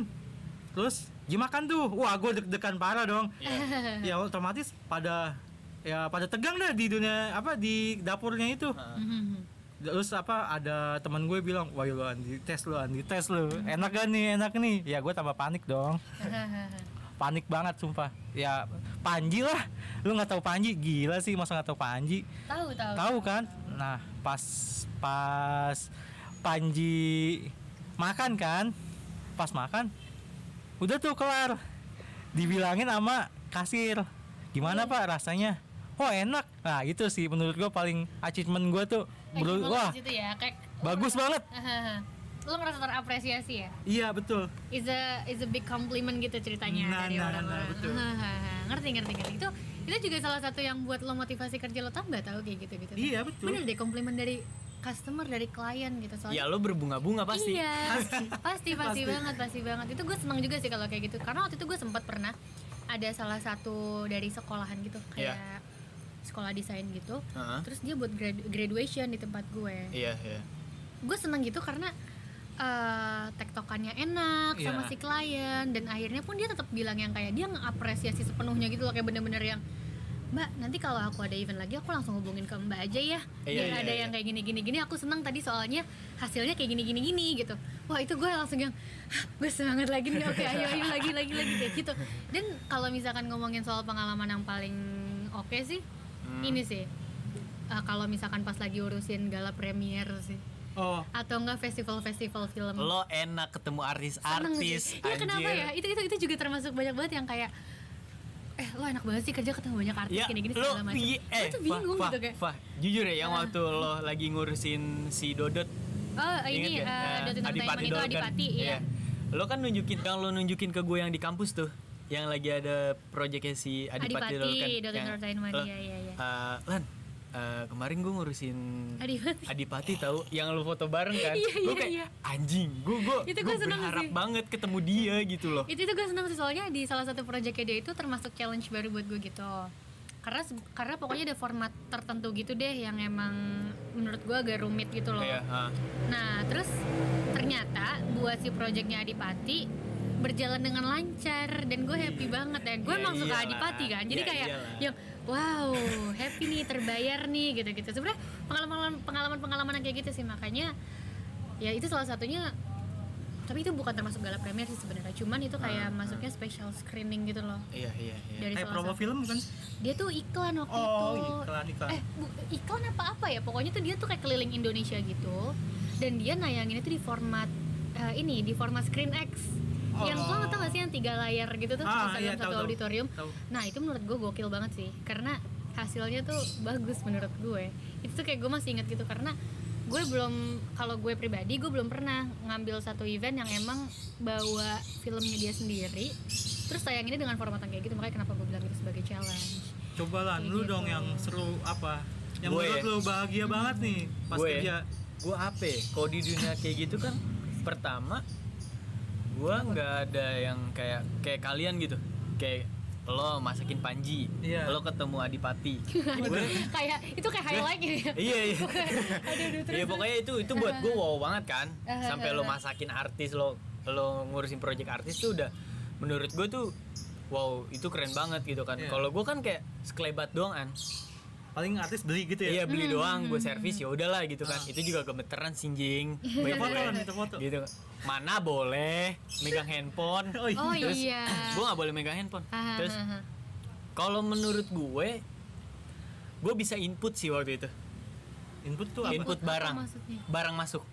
Speaker 3: terus dimakan tuh. Wah, gue deg-degan parah dong.
Speaker 2: Iya.
Speaker 1: Hmm,
Speaker 3: ya otomatis pada ya pada tegang dah di dunia apa di dapurnya itu
Speaker 2: Ah.
Speaker 1: Hmm, hmm, hmm.
Speaker 3: terus apa ada teman gue bilang wah lu andi tes lu andi tes lu enak gak nih enak nih ya gue tambah panik dong
Speaker 1: hmm,
Speaker 3: panik banget sumpah ya Panji lah lu nggak tahu Panji gila sih masa nggak tahu Panji
Speaker 1: tahu tahu
Speaker 3: tahu kan nah pas pas Panji makan kan pas makan udah tuh kelar dibilangin sama kasir
Speaker 1: Iya.
Speaker 3: gimana pak rasanya oh enak nah itu sih menurut gua paling achievement gua tuh
Speaker 1: Eh,
Speaker 3: menurut
Speaker 1: gimana
Speaker 3: wah
Speaker 1: di situ ya kayak lo
Speaker 3: bagus
Speaker 1: ngerasa-
Speaker 3: banget
Speaker 1: Hahaha. <laughs> lo ngerasa terapresiasi ya
Speaker 3: iya betul
Speaker 1: is a is a big compliment gitu ceritanya
Speaker 3: Nah,
Speaker 1: dari
Speaker 3: nah,
Speaker 1: orang-orang
Speaker 3: nah, betul.
Speaker 1: Hahaha. <laughs> ngerti ngerti ngerti itu itu juga salah satu yang buat lo motivasi kerja lo tambah tahu kayak gitu gitu
Speaker 3: iya betul
Speaker 1: bener deh komplimen dari customer dari klien gitu soalnya
Speaker 2: Ya lo berbunga-bunga pasti.
Speaker 1: Iya, pasti, pasti, banget, pasti banget. Itu gue seneng juga sih kalau kayak gitu. Karena waktu itu gue sempat pernah ada salah satu dari sekolahan gitu kayak sekolah desain gitu.
Speaker 2: Ah.
Speaker 1: Terus dia buat grad- graduation di tempat gue.
Speaker 2: Iya, iya.
Speaker 1: Gue seneng gitu karena eh, tektokannya enak sama
Speaker 3: Iya.
Speaker 1: si klien dan akhirnya pun dia tetap bilang yang kayak dia ngapresiasi sepenuhnya gitu loh kayak bener-bener yang Mbak, nanti kalau aku ada event lagi aku langsung hubungin ke Mbak aja ya.
Speaker 2: Iya,
Speaker 1: Biar
Speaker 2: iya,
Speaker 1: ada
Speaker 2: iya.
Speaker 1: yang kayak gini-gini gini aku senang tadi soalnya hasilnya kayak gini-gini gini gitu. Wah, itu gue langsung yang "Hah, gue semangat lagi nih. Oke, ayo ayo lagi lagi lagi kayak gitu. Dan kalau misalkan ngomongin soal pengalaman yang paling oke sih
Speaker 2: Hmm.
Speaker 1: ini sih. Eh, kalau misalkan pas lagi urusin gala premier sih
Speaker 3: oh
Speaker 1: atau enggak festival-festival film.
Speaker 2: Lo enak ketemu
Speaker 1: Seneng sih.
Speaker 2: artis-artis.
Speaker 1: Iya kenapa
Speaker 2: anjir.
Speaker 1: ya? Itu itu itu juga termasuk banyak banget yang kayak eh lo enak banget sih kerja ketemu banyak artis
Speaker 2: Ya,
Speaker 1: gini-gini
Speaker 2: lo,
Speaker 1: segala macam.
Speaker 2: iya, eh,
Speaker 1: Gue tuh bingung
Speaker 2: Fah,
Speaker 1: gitu kayak. Ah.
Speaker 2: Fah, jujur ya, yang waktu lo lagi ngurusin si Dodot,
Speaker 1: Oh, ini eh
Speaker 2: Ingat nggak? Eh,
Speaker 1: Dota Entertainment itu
Speaker 2: Dolken.
Speaker 1: Adipati, iya.
Speaker 2: Lo kan nunjukin yang lo nunjukin ke gue yang di kampus tuh, yang lagi ada proyeknya si
Speaker 1: Adipati,
Speaker 2: Adipati, Dolken.
Speaker 1: Dota
Speaker 2: Yang,
Speaker 1: Entertainment,
Speaker 2: lo,
Speaker 1: iya, iya, iya.
Speaker 2: eh, Lan, eh, kemarin gue ngurusin
Speaker 1: Adipati.
Speaker 2: Adipati tahu yang lo foto bareng kan?
Speaker 1: Iya,
Speaker 2: Gue
Speaker 1: iya,
Speaker 2: kayak
Speaker 1: iya.
Speaker 2: anjing, gue gue
Speaker 1: Itu
Speaker 2: gue
Speaker 1: gue seneng
Speaker 2: berharap
Speaker 1: sih. Iya,
Speaker 2: banget ketemu dia gitu loh.
Speaker 1: Itu itu gue senang sih soalnya di salah satu proyeknya dia itu termasuk challenge baru buat gue gitu. Karena se- karena pokoknya ada format tertentu gitu deh yang emang menurut gue agak rumit gitu loh.
Speaker 2: Iya, ah.
Speaker 1: Nah, terus ternyata buat si proyeknya Adipati berjalan dengan lancar dan gue happy banget dan gue
Speaker 2: Ya
Speaker 1: emang suka
Speaker 2: iyalah.
Speaker 1: Adipati kan jadi
Speaker 2: Ya
Speaker 1: kayak
Speaker 2: iyalah.
Speaker 1: yang wow happy nih terbayar nih gitu-gitu sebenarnya pengalaman pengalaman pengalaman kayak gitu sih makanya ya itu salah satunya tapi itu bukan termasuk gala premier sih sebenarnya cuman itu kayak masuknya special screening gitu loh
Speaker 2: Ah, iya iya iya
Speaker 1: Dari
Speaker 3: eh
Speaker 1: salah
Speaker 3: promo
Speaker 1: satu.
Speaker 3: film bukan
Speaker 1: dia tuh iklan waktu
Speaker 3: oh
Speaker 1: itu
Speaker 3: iklan iklan
Speaker 1: eh bu- iklan apa apa ya pokoknya tuh dia tuh kayak keliling Indonesia gitu dan dia nayanginnya tuh di format eh, ini di format screen X yang
Speaker 3: Oh.
Speaker 1: lo tau gak sih yang tiga layar gitu tuh
Speaker 3: Ah,
Speaker 1: satu
Speaker 3: iya,
Speaker 1: dalam satu
Speaker 3: tahu, tahu.
Speaker 1: auditorium
Speaker 3: Tahu.
Speaker 1: nah itu menurut gue gokil banget sih karena hasilnya tuh bagus menurut gue itu tuh kayak gue masih inget gitu karena gue belum kalau gue pribadi gue belum pernah ngambil satu event yang emang bawa filmnya dia sendiri terus tayanginnya dengan format yang kayak gitu makanya kenapa gue bilang itu sebagai challenge
Speaker 3: coba lah
Speaker 1: Kayak
Speaker 3: lu
Speaker 1: gitu.
Speaker 3: dong yang seru apa yang
Speaker 2: Gue.
Speaker 3: menurut lu bahagia banget nih pas
Speaker 2: gue
Speaker 3: kerja
Speaker 2: gue apa ya? kalau di dunia kayak gitu kan pertama gue nggak ada yang kayak kayak kalian gitu kayak lo masakin Panji
Speaker 3: Iya.
Speaker 2: lo ketemu
Speaker 1: <laughs>
Speaker 2: Adipati Gue-
Speaker 1: kayak itu kayak highlight gitu
Speaker 2: <laughs>
Speaker 1: ya
Speaker 2: iya iya
Speaker 1: aduh, aduh, terus,
Speaker 2: iya pokoknya itu itu buat gue wow banget kan sampai lo masakin artis lo lo ngurusin project artis tuh udah menurut gue tuh wow itu keren banget gitu kan
Speaker 3: Iya.
Speaker 2: kalau gue kan kayak sekelebat doang an
Speaker 3: paling artis beli gitu ya
Speaker 2: Iya beli
Speaker 1: Hmm,
Speaker 2: doang, gue servis ya udahlah gitu
Speaker 3: Ah.
Speaker 2: kan. Itu juga gemeteran
Speaker 1: <laughs>
Speaker 2: sinjing. Banyak
Speaker 3: Foto,
Speaker 1: Iya,
Speaker 2: gue.
Speaker 3: minta foto.
Speaker 2: Gitu. Mana boleh megang handphone.
Speaker 3: oh iya
Speaker 1: oh
Speaker 2: Terus,
Speaker 1: iya
Speaker 2: Gue nggak boleh megang handphone.
Speaker 1: Ah,
Speaker 2: Terus
Speaker 1: ah, ah.
Speaker 2: kalau menurut gue, gue bisa input sih waktu itu.
Speaker 3: input tuh apa
Speaker 2: Input
Speaker 1: apa
Speaker 2: barang,
Speaker 1: maksudnya?
Speaker 2: barang masuk.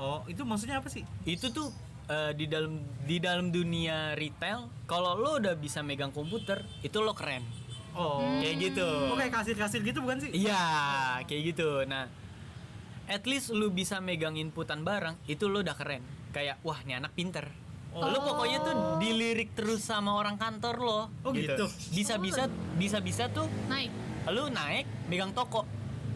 Speaker 3: oh itu maksudnya apa sih
Speaker 2: Itu tuh eh, di dalam di dalam dunia retail, kalau lo udah bisa megang komputer, itu lo keren.
Speaker 3: oh
Speaker 2: Kayak gitu.
Speaker 3: Oh kayak kasir-kasir gitu bukan sih?
Speaker 2: Iya, kayak gitu. Nah, at least lu bisa megang inputan barang, itu lu udah keren. Kayak, wah, ini anak pinter.
Speaker 3: Oh.
Speaker 2: Lu pokoknya tuh dilirik terus sama orang kantor lo.
Speaker 3: Oh, gitu.
Speaker 2: Bisa-bisa, bisa-bisa tuh
Speaker 1: naik
Speaker 2: lu naik megang toko.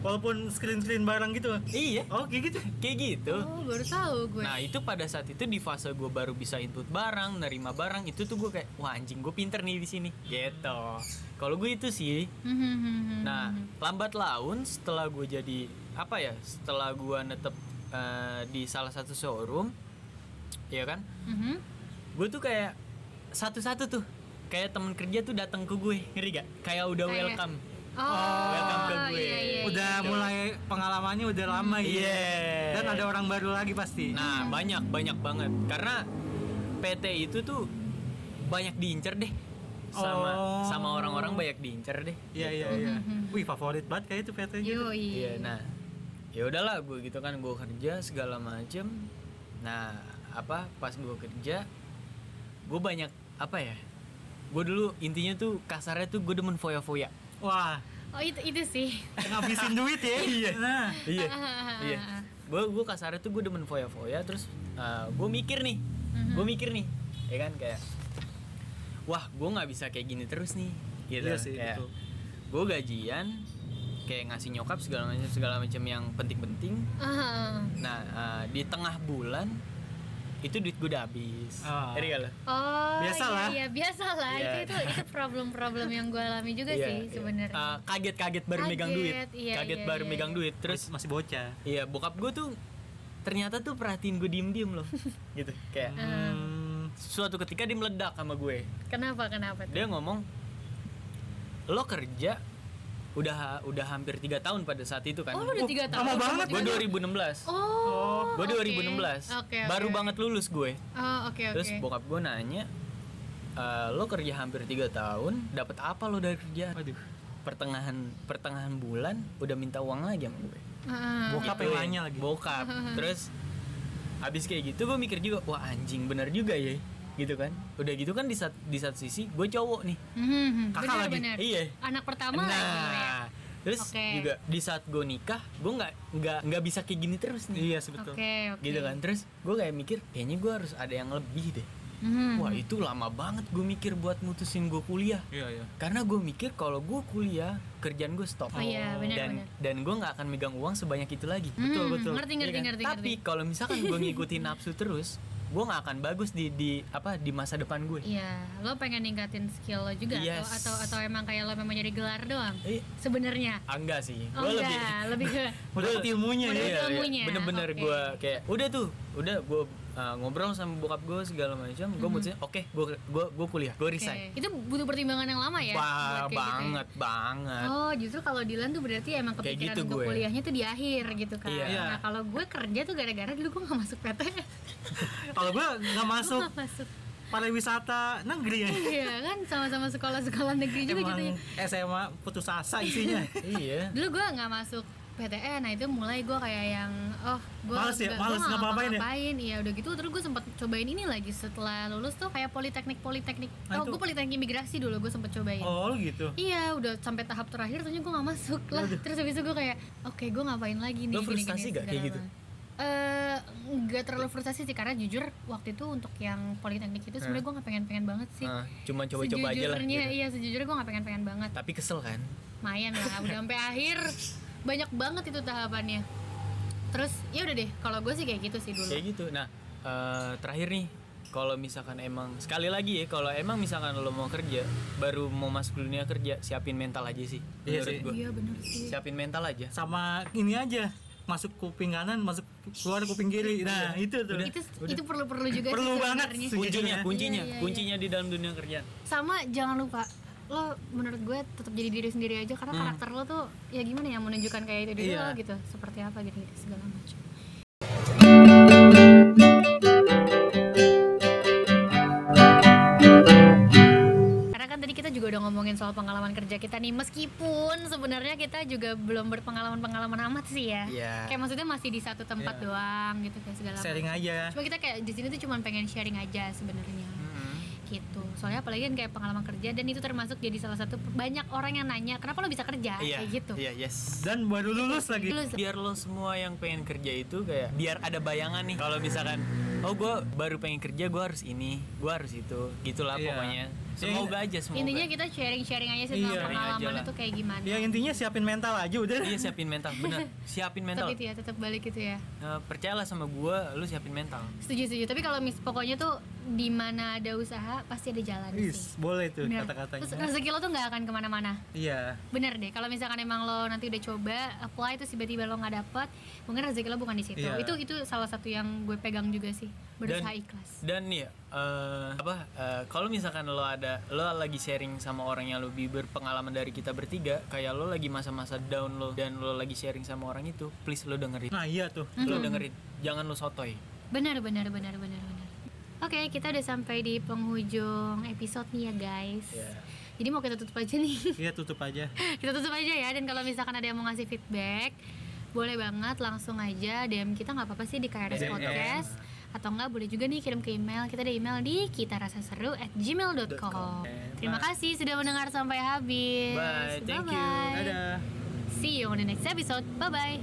Speaker 3: Walaupun screen-screen barang gitu.
Speaker 2: Iya,
Speaker 3: Oh kayak gitu.
Speaker 2: kayak gitu.
Speaker 1: oh baru tahu gue
Speaker 2: Nah itu pada saat itu di fase gue baru bisa input barang, nerima barang itu tuh gue kayak wah anjing gue pinter nih di sini. Gitu. Kalau gue itu sih
Speaker 1: Hmm, hmm, hmm, hmm,
Speaker 2: Nah,
Speaker 1: hmm.
Speaker 2: lambat laun setelah gue jadi apa ya? Setelah gue netep eh, di salah satu showroom, ya kan?
Speaker 1: Mhm.
Speaker 2: Gue tuh kayak satu-satu tuh, kayak temen kerja tuh datang ke gue, ngeri gak? Kayak udah
Speaker 1: Kayak-
Speaker 2: welcome.
Speaker 1: oh,
Speaker 2: welcome ke gue.
Speaker 1: iya, iya,
Speaker 3: Udah
Speaker 1: iya.
Speaker 3: mulai pengalamannya udah lama ya.
Speaker 2: Iya.
Speaker 3: Dan ada orang baru lagi pasti.
Speaker 2: Nah, banyak banyak banget. Karena PT itu tuh banyak diincer deh sama
Speaker 3: Oh.
Speaker 2: sama orang-orang banyak diincer deh.
Speaker 3: Iya iya iya. Wih favorit banget kayak itu PT gitu.
Speaker 1: Yoi.
Speaker 2: Iya, nah ya udahlah gue gitu kan gue kerja segala macem. Nah apa pas gue kerja gue banyak apa ya? Gue dulu intinya tuh kasarnya tuh gue demen foya-foya.
Speaker 3: Wah,
Speaker 1: oh itu itu sih
Speaker 3: ngabisin duit ya. Iya. Nah,
Speaker 2: <laughs> Iya,
Speaker 1: Ah.
Speaker 2: iya. Gue gue kasarnya tuh gue demen foya-foya. Terus gue mikir nih, gue mikir nih, ya kan kayak, wah gue nggak bisa kayak gini terus nih. Gitu.
Speaker 3: Iya sih, betul.
Speaker 2: Gue gajian, kayak ngasih nyokap segala macam segala macam yang penting-penting.
Speaker 1: Ah.
Speaker 2: Nah, eh, di tengah bulan itu duit gue udah habis.
Speaker 3: Ah.
Speaker 2: Ngerti nggak lo?
Speaker 1: oh
Speaker 3: Biasalah.
Speaker 1: iya, iya. biasalah
Speaker 2: Iya.
Speaker 1: itu itu itu problem-problem yang gue alami juga
Speaker 2: Iya,
Speaker 1: sih
Speaker 2: iya.
Speaker 1: sebenarnya
Speaker 2: Eh, kaget-kaget baru megang duit.
Speaker 1: Kaget, iya,
Speaker 2: kaget
Speaker 1: iya,
Speaker 2: baru
Speaker 1: iya,
Speaker 2: megang
Speaker 1: iya.
Speaker 2: duit. Terus
Speaker 3: terus masih bocah.
Speaker 2: iya, bokap gue tuh ternyata tuh perhatiin gue diem-diem
Speaker 1: <laughs>
Speaker 2: loh. gitu. Kayak
Speaker 1: Nah.
Speaker 3: Hmm.
Speaker 2: suatu ketika dia meledak sama gue.
Speaker 1: kenapa kenapa tuh?
Speaker 2: Dia ngomong, "Lo kerja udah udah hampir tiga tahun pada saat itu kan."
Speaker 1: oh lu udah
Speaker 3: Oh,
Speaker 1: tiga
Speaker 3: lama
Speaker 1: tahun
Speaker 3: banget,
Speaker 2: gue 2016.
Speaker 1: oh
Speaker 2: gue
Speaker 1: oke.
Speaker 2: 2016.
Speaker 1: Oke,
Speaker 2: baru
Speaker 1: oke.
Speaker 2: banget lulus gue.
Speaker 1: oh oke oke
Speaker 2: Terus bokap gue nanya, "Eh, lo kerja hampir tiga tahun, dapat apa lo dari kerjaan?
Speaker 3: Waduh.
Speaker 2: Pertengahan pertengahan bulan udah minta uang lagi sama gue.
Speaker 1: Ah.
Speaker 3: Bokap
Speaker 2: Gitu
Speaker 3: yang
Speaker 2: ya,
Speaker 3: nanya lagi.
Speaker 1: <laughs>
Speaker 2: Bokap. Terus habis kayak gitu gue mikir juga, wah anjing bener juga ya, gitu kan. Udah gitu kan di sat- di satu sisi gue cowok nih.
Speaker 1: Mhm,
Speaker 2: Kakak
Speaker 1: benar,
Speaker 2: lagi.
Speaker 1: benar.
Speaker 2: Iya.
Speaker 1: Anak pertama
Speaker 2: nah,
Speaker 1: lagi ya.
Speaker 2: terus
Speaker 1: Oke.
Speaker 2: juga di saat gue nikah, gue nggak nggak nggak bisa kayak gini terus nih.
Speaker 3: Iya sih
Speaker 1: Oke,
Speaker 3: betul.
Speaker 1: oke.
Speaker 2: Gitu kan. Terus gue kayak mikir, kayaknya gue harus ada yang lebih deh.
Speaker 1: Mhm.
Speaker 2: Wah itu lama banget gue mikir buat mutusin gue kuliah
Speaker 3: Iya iya.
Speaker 2: Karena gue mikir kalau gue kuliah kerjaan gue stop
Speaker 1: Oh iya, benar,
Speaker 2: Dan
Speaker 1: benar.
Speaker 2: dan gue nggak akan megang uang sebanyak itu lagi Betul
Speaker 1: Hmm,
Speaker 2: betul
Speaker 1: ngerti,
Speaker 2: Iya
Speaker 1: ngerti,
Speaker 2: kan?
Speaker 1: ngerti,
Speaker 2: Tapi
Speaker 1: ngerti.
Speaker 2: kalau misalkan
Speaker 1: <laughs>
Speaker 2: gue ngikutin nafsu terus Gue nggak akan bagus di, di apa di masa depan gue
Speaker 1: Iya, lo pengen ningkatin skill lo juga
Speaker 2: Yes.
Speaker 1: atau, atau atau emang kayak lo memang jadi gelar doang?
Speaker 2: Eh,
Speaker 1: Sebenarnya.
Speaker 2: ah, enggak sih
Speaker 1: Oh
Speaker 2: Gue lebih Iya,
Speaker 1: enggak, lebih ke
Speaker 3: Udah dapet ilmunya
Speaker 1: Udah
Speaker 3: ya.
Speaker 1: dapet ilmunya,
Speaker 2: Bener-bener
Speaker 1: oke.
Speaker 2: gue kayak udah tuh udah gue ngobrol sama bokap gue segala macam gue mutusin oke gue gue gue kuliah gue
Speaker 1: Mhm. Oke.
Speaker 2: resign
Speaker 1: Itu butuh pertimbangan yang lama ya.
Speaker 2: Wah,
Speaker 1: buat kayak gitu ya?
Speaker 2: banget banget
Speaker 1: Oh, justru kalau Dilan tuh berarti emang
Speaker 2: Kayak
Speaker 1: kepikiran
Speaker 2: gitu
Speaker 1: untuk
Speaker 2: gue.
Speaker 1: kuliahnya tuh di akhir gitu kan.
Speaker 2: Iya.
Speaker 1: Nah, kalau gue kerja tuh gara-gara dulu gue gak masuk PTN.
Speaker 3: kalau gue nggak
Speaker 1: <laughs>
Speaker 3: masuk
Speaker 1: Gak masuk.
Speaker 3: pariwisata negeri ya
Speaker 1: Iya kan sama-sama sekolah-sekolah negeri juga
Speaker 3: emang
Speaker 1: gitu ya.
Speaker 3: SMA putus asa isinya
Speaker 2: iya
Speaker 1: Dulu gue gak masuk PTN, nah itu mulai gue kayak yang oh gue
Speaker 3: Males ya, males, nggak apa-apain ya?
Speaker 1: ngapain iya udah gitu terus gue sempat cobain ini lagi setelah lulus tuh kayak politeknik politeknik
Speaker 3: Ah,
Speaker 1: oh
Speaker 3: itu-
Speaker 1: gue politeknik imigrasi dulu gue sempet cobain
Speaker 3: oh gitu
Speaker 1: Iya, udah sampai tahap terakhir ternyata gue gak masuk lah. Terus habis itu gue kayak, oke gue ngapain lagi nih?
Speaker 2: Iya. Lo frustasi
Speaker 1: gini-gini,
Speaker 2: gak kayak
Speaker 1: segala
Speaker 2: gitu?
Speaker 1: macam." Eh, nggak terlalu frustasi sih karena jujur waktu itu untuk yang politeknik itu sebenarnya gue nggak pengen-pengen banget sih.
Speaker 2: Ah, cuman coba-coba aja lah
Speaker 1: Sejujurnya,
Speaker 2: gitu.
Speaker 1: Iya, sejujurnya gue nggak pengen-pengen banget.
Speaker 2: tapi kesel kan
Speaker 1: Mayan lah, udah sampai akhir. Banyak banget itu tahapannya. Terus ya udah deh, kalau gue sih kayak gitu sih dulu.
Speaker 2: kayak gitu nah eh, terakhir nih kalau misalkan emang sekali lagi ya kalau emang misalkan lo mau kerja baru mau masuk dunia kerja siapin mental aja sih
Speaker 3: Iya
Speaker 2: menurut
Speaker 3: sih.
Speaker 2: gue
Speaker 1: Iya bener sih.
Speaker 2: siapin mental aja
Speaker 3: sama ini aja masuk kuping kanan masuk keluar kuping kiri nah itu tuh
Speaker 1: itu itu perlu-perlu juga
Speaker 3: Perlu
Speaker 1: sih
Speaker 3: banget.
Speaker 1: sebenarnya.
Speaker 3: Sejujurnya.
Speaker 2: kuncinya kuncinya
Speaker 1: Iya, iya,
Speaker 2: kuncinya di dalam dunia kerja
Speaker 1: sama jangan lupa lo menurut gue tetap jadi diri sendiri aja karena karakter lo tuh ya gimana ya menunjukkan kayak itu diri
Speaker 3: Hmm. Iya.
Speaker 1: lo gitu seperti apa gitu segala macam karena kan tadi kita juga udah ngomongin soal pengalaman kerja kita nih meskipun sebenarnya kita juga belum berpengalaman pengalaman amat sih ya
Speaker 2: Iya.
Speaker 1: kayak maksudnya masih di satu tempat doang gitu kayak segala macam
Speaker 3: Iya. sharing aja
Speaker 1: cuma kita kayak di sini tuh cuma pengen sharing aja sebenarnya gitu soalnya apalagi kan kayak pengalaman kerja dan itu termasuk jadi salah satu banyak orang yang nanya kenapa lo bisa kerja
Speaker 2: iya
Speaker 1: kayak gitu
Speaker 2: iya yes
Speaker 3: dan baru lulus lagi
Speaker 1: Dulu se-
Speaker 2: biar lo semua yang pengen kerja itu kayak biar ada bayangan nih kalau misalkan oh gue baru pengen kerja gue harus ini gue harus itu gitulah
Speaker 3: Iya.
Speaker 2: pokoknya semoga aja semoga
Speaker 1: intinya kita sharing sharing aja sih tentang
Speaker 3: Iya.
Speaker 1: pengalaman
Speaker 2: Aja lah.
Speaker 1: itu kayak gimana
Speaker 3: ya intinya siapin mental aja udah
Speaker 2: iya siapin mental bener siapin
Speaker 1: tetap
Speaker 2: mental
Speaker 1: itu ya tetap balik gitu ya
Speaker 2: Eh, percayalah sama gue lu siapin mental
Speaker 1: setuju setuju tapi kalau mis pokoknya tuh di mana ada usaha pasti ada jalan Iya sih
Speaker 3: Is, boleh tuh
Speaker 1: Bener.
Speaker 3: kata-katanya
Speaker 1: terus rezeki lo tuh nggak akan kemana-mana
Speaker 3: iya
Speaker 1: bener deh kalau misalkan emang lo nanti udah coba apply terus tiba-tiba lo nggak dapet mungkin rezeki lo bukan di situ
Speaker 3: Iya.
Speaker 1: itu itu salah satu yang gue pegang juga sih berusaha ikhlas
Speaker 2: dan nih eh, apa eh, kalau misalkan lo ada lo lagi sharing sama orang yang lebih berpengalaman dari kita bertiga kayak lo lagi masa-masa down lo dan lo lagi sharing sama orang itu please lo dengerin
Speaker 3: nah iya tuh
Speaker 2: lo dengerin jangan lo sotoy
Speaker 1: Benar, benar, benar, benar, benar. Oke, kita udah sampai di penghujung episode nih ya guys.
Speaker 2: Iya.
Speaker 1: Jadi mau kita tutup aja nih. <laughs>
Speaker 3: iya tutup aja
Speaker 1: kita tutup aja ya. Dan kalau misalkan ada yang mau ngasih feedback, boleh banget langsung aja DM kita nggak apa-apa sih di KRS
Speaker 3: DM.
Speaker 2: ya.
Speaker 1: Podcast. Atau nggak boleh juga nih kirim ke email. Kita ada email di kita rasa seru at gmail.com. Terima kasih sudah mendengar sampai habis.
Speaker 2: Bye, thank you.
Speaker 1: Bye-bye.
Speaker 3: dadah
Speaker 1: See you on the next episode. Bye bye.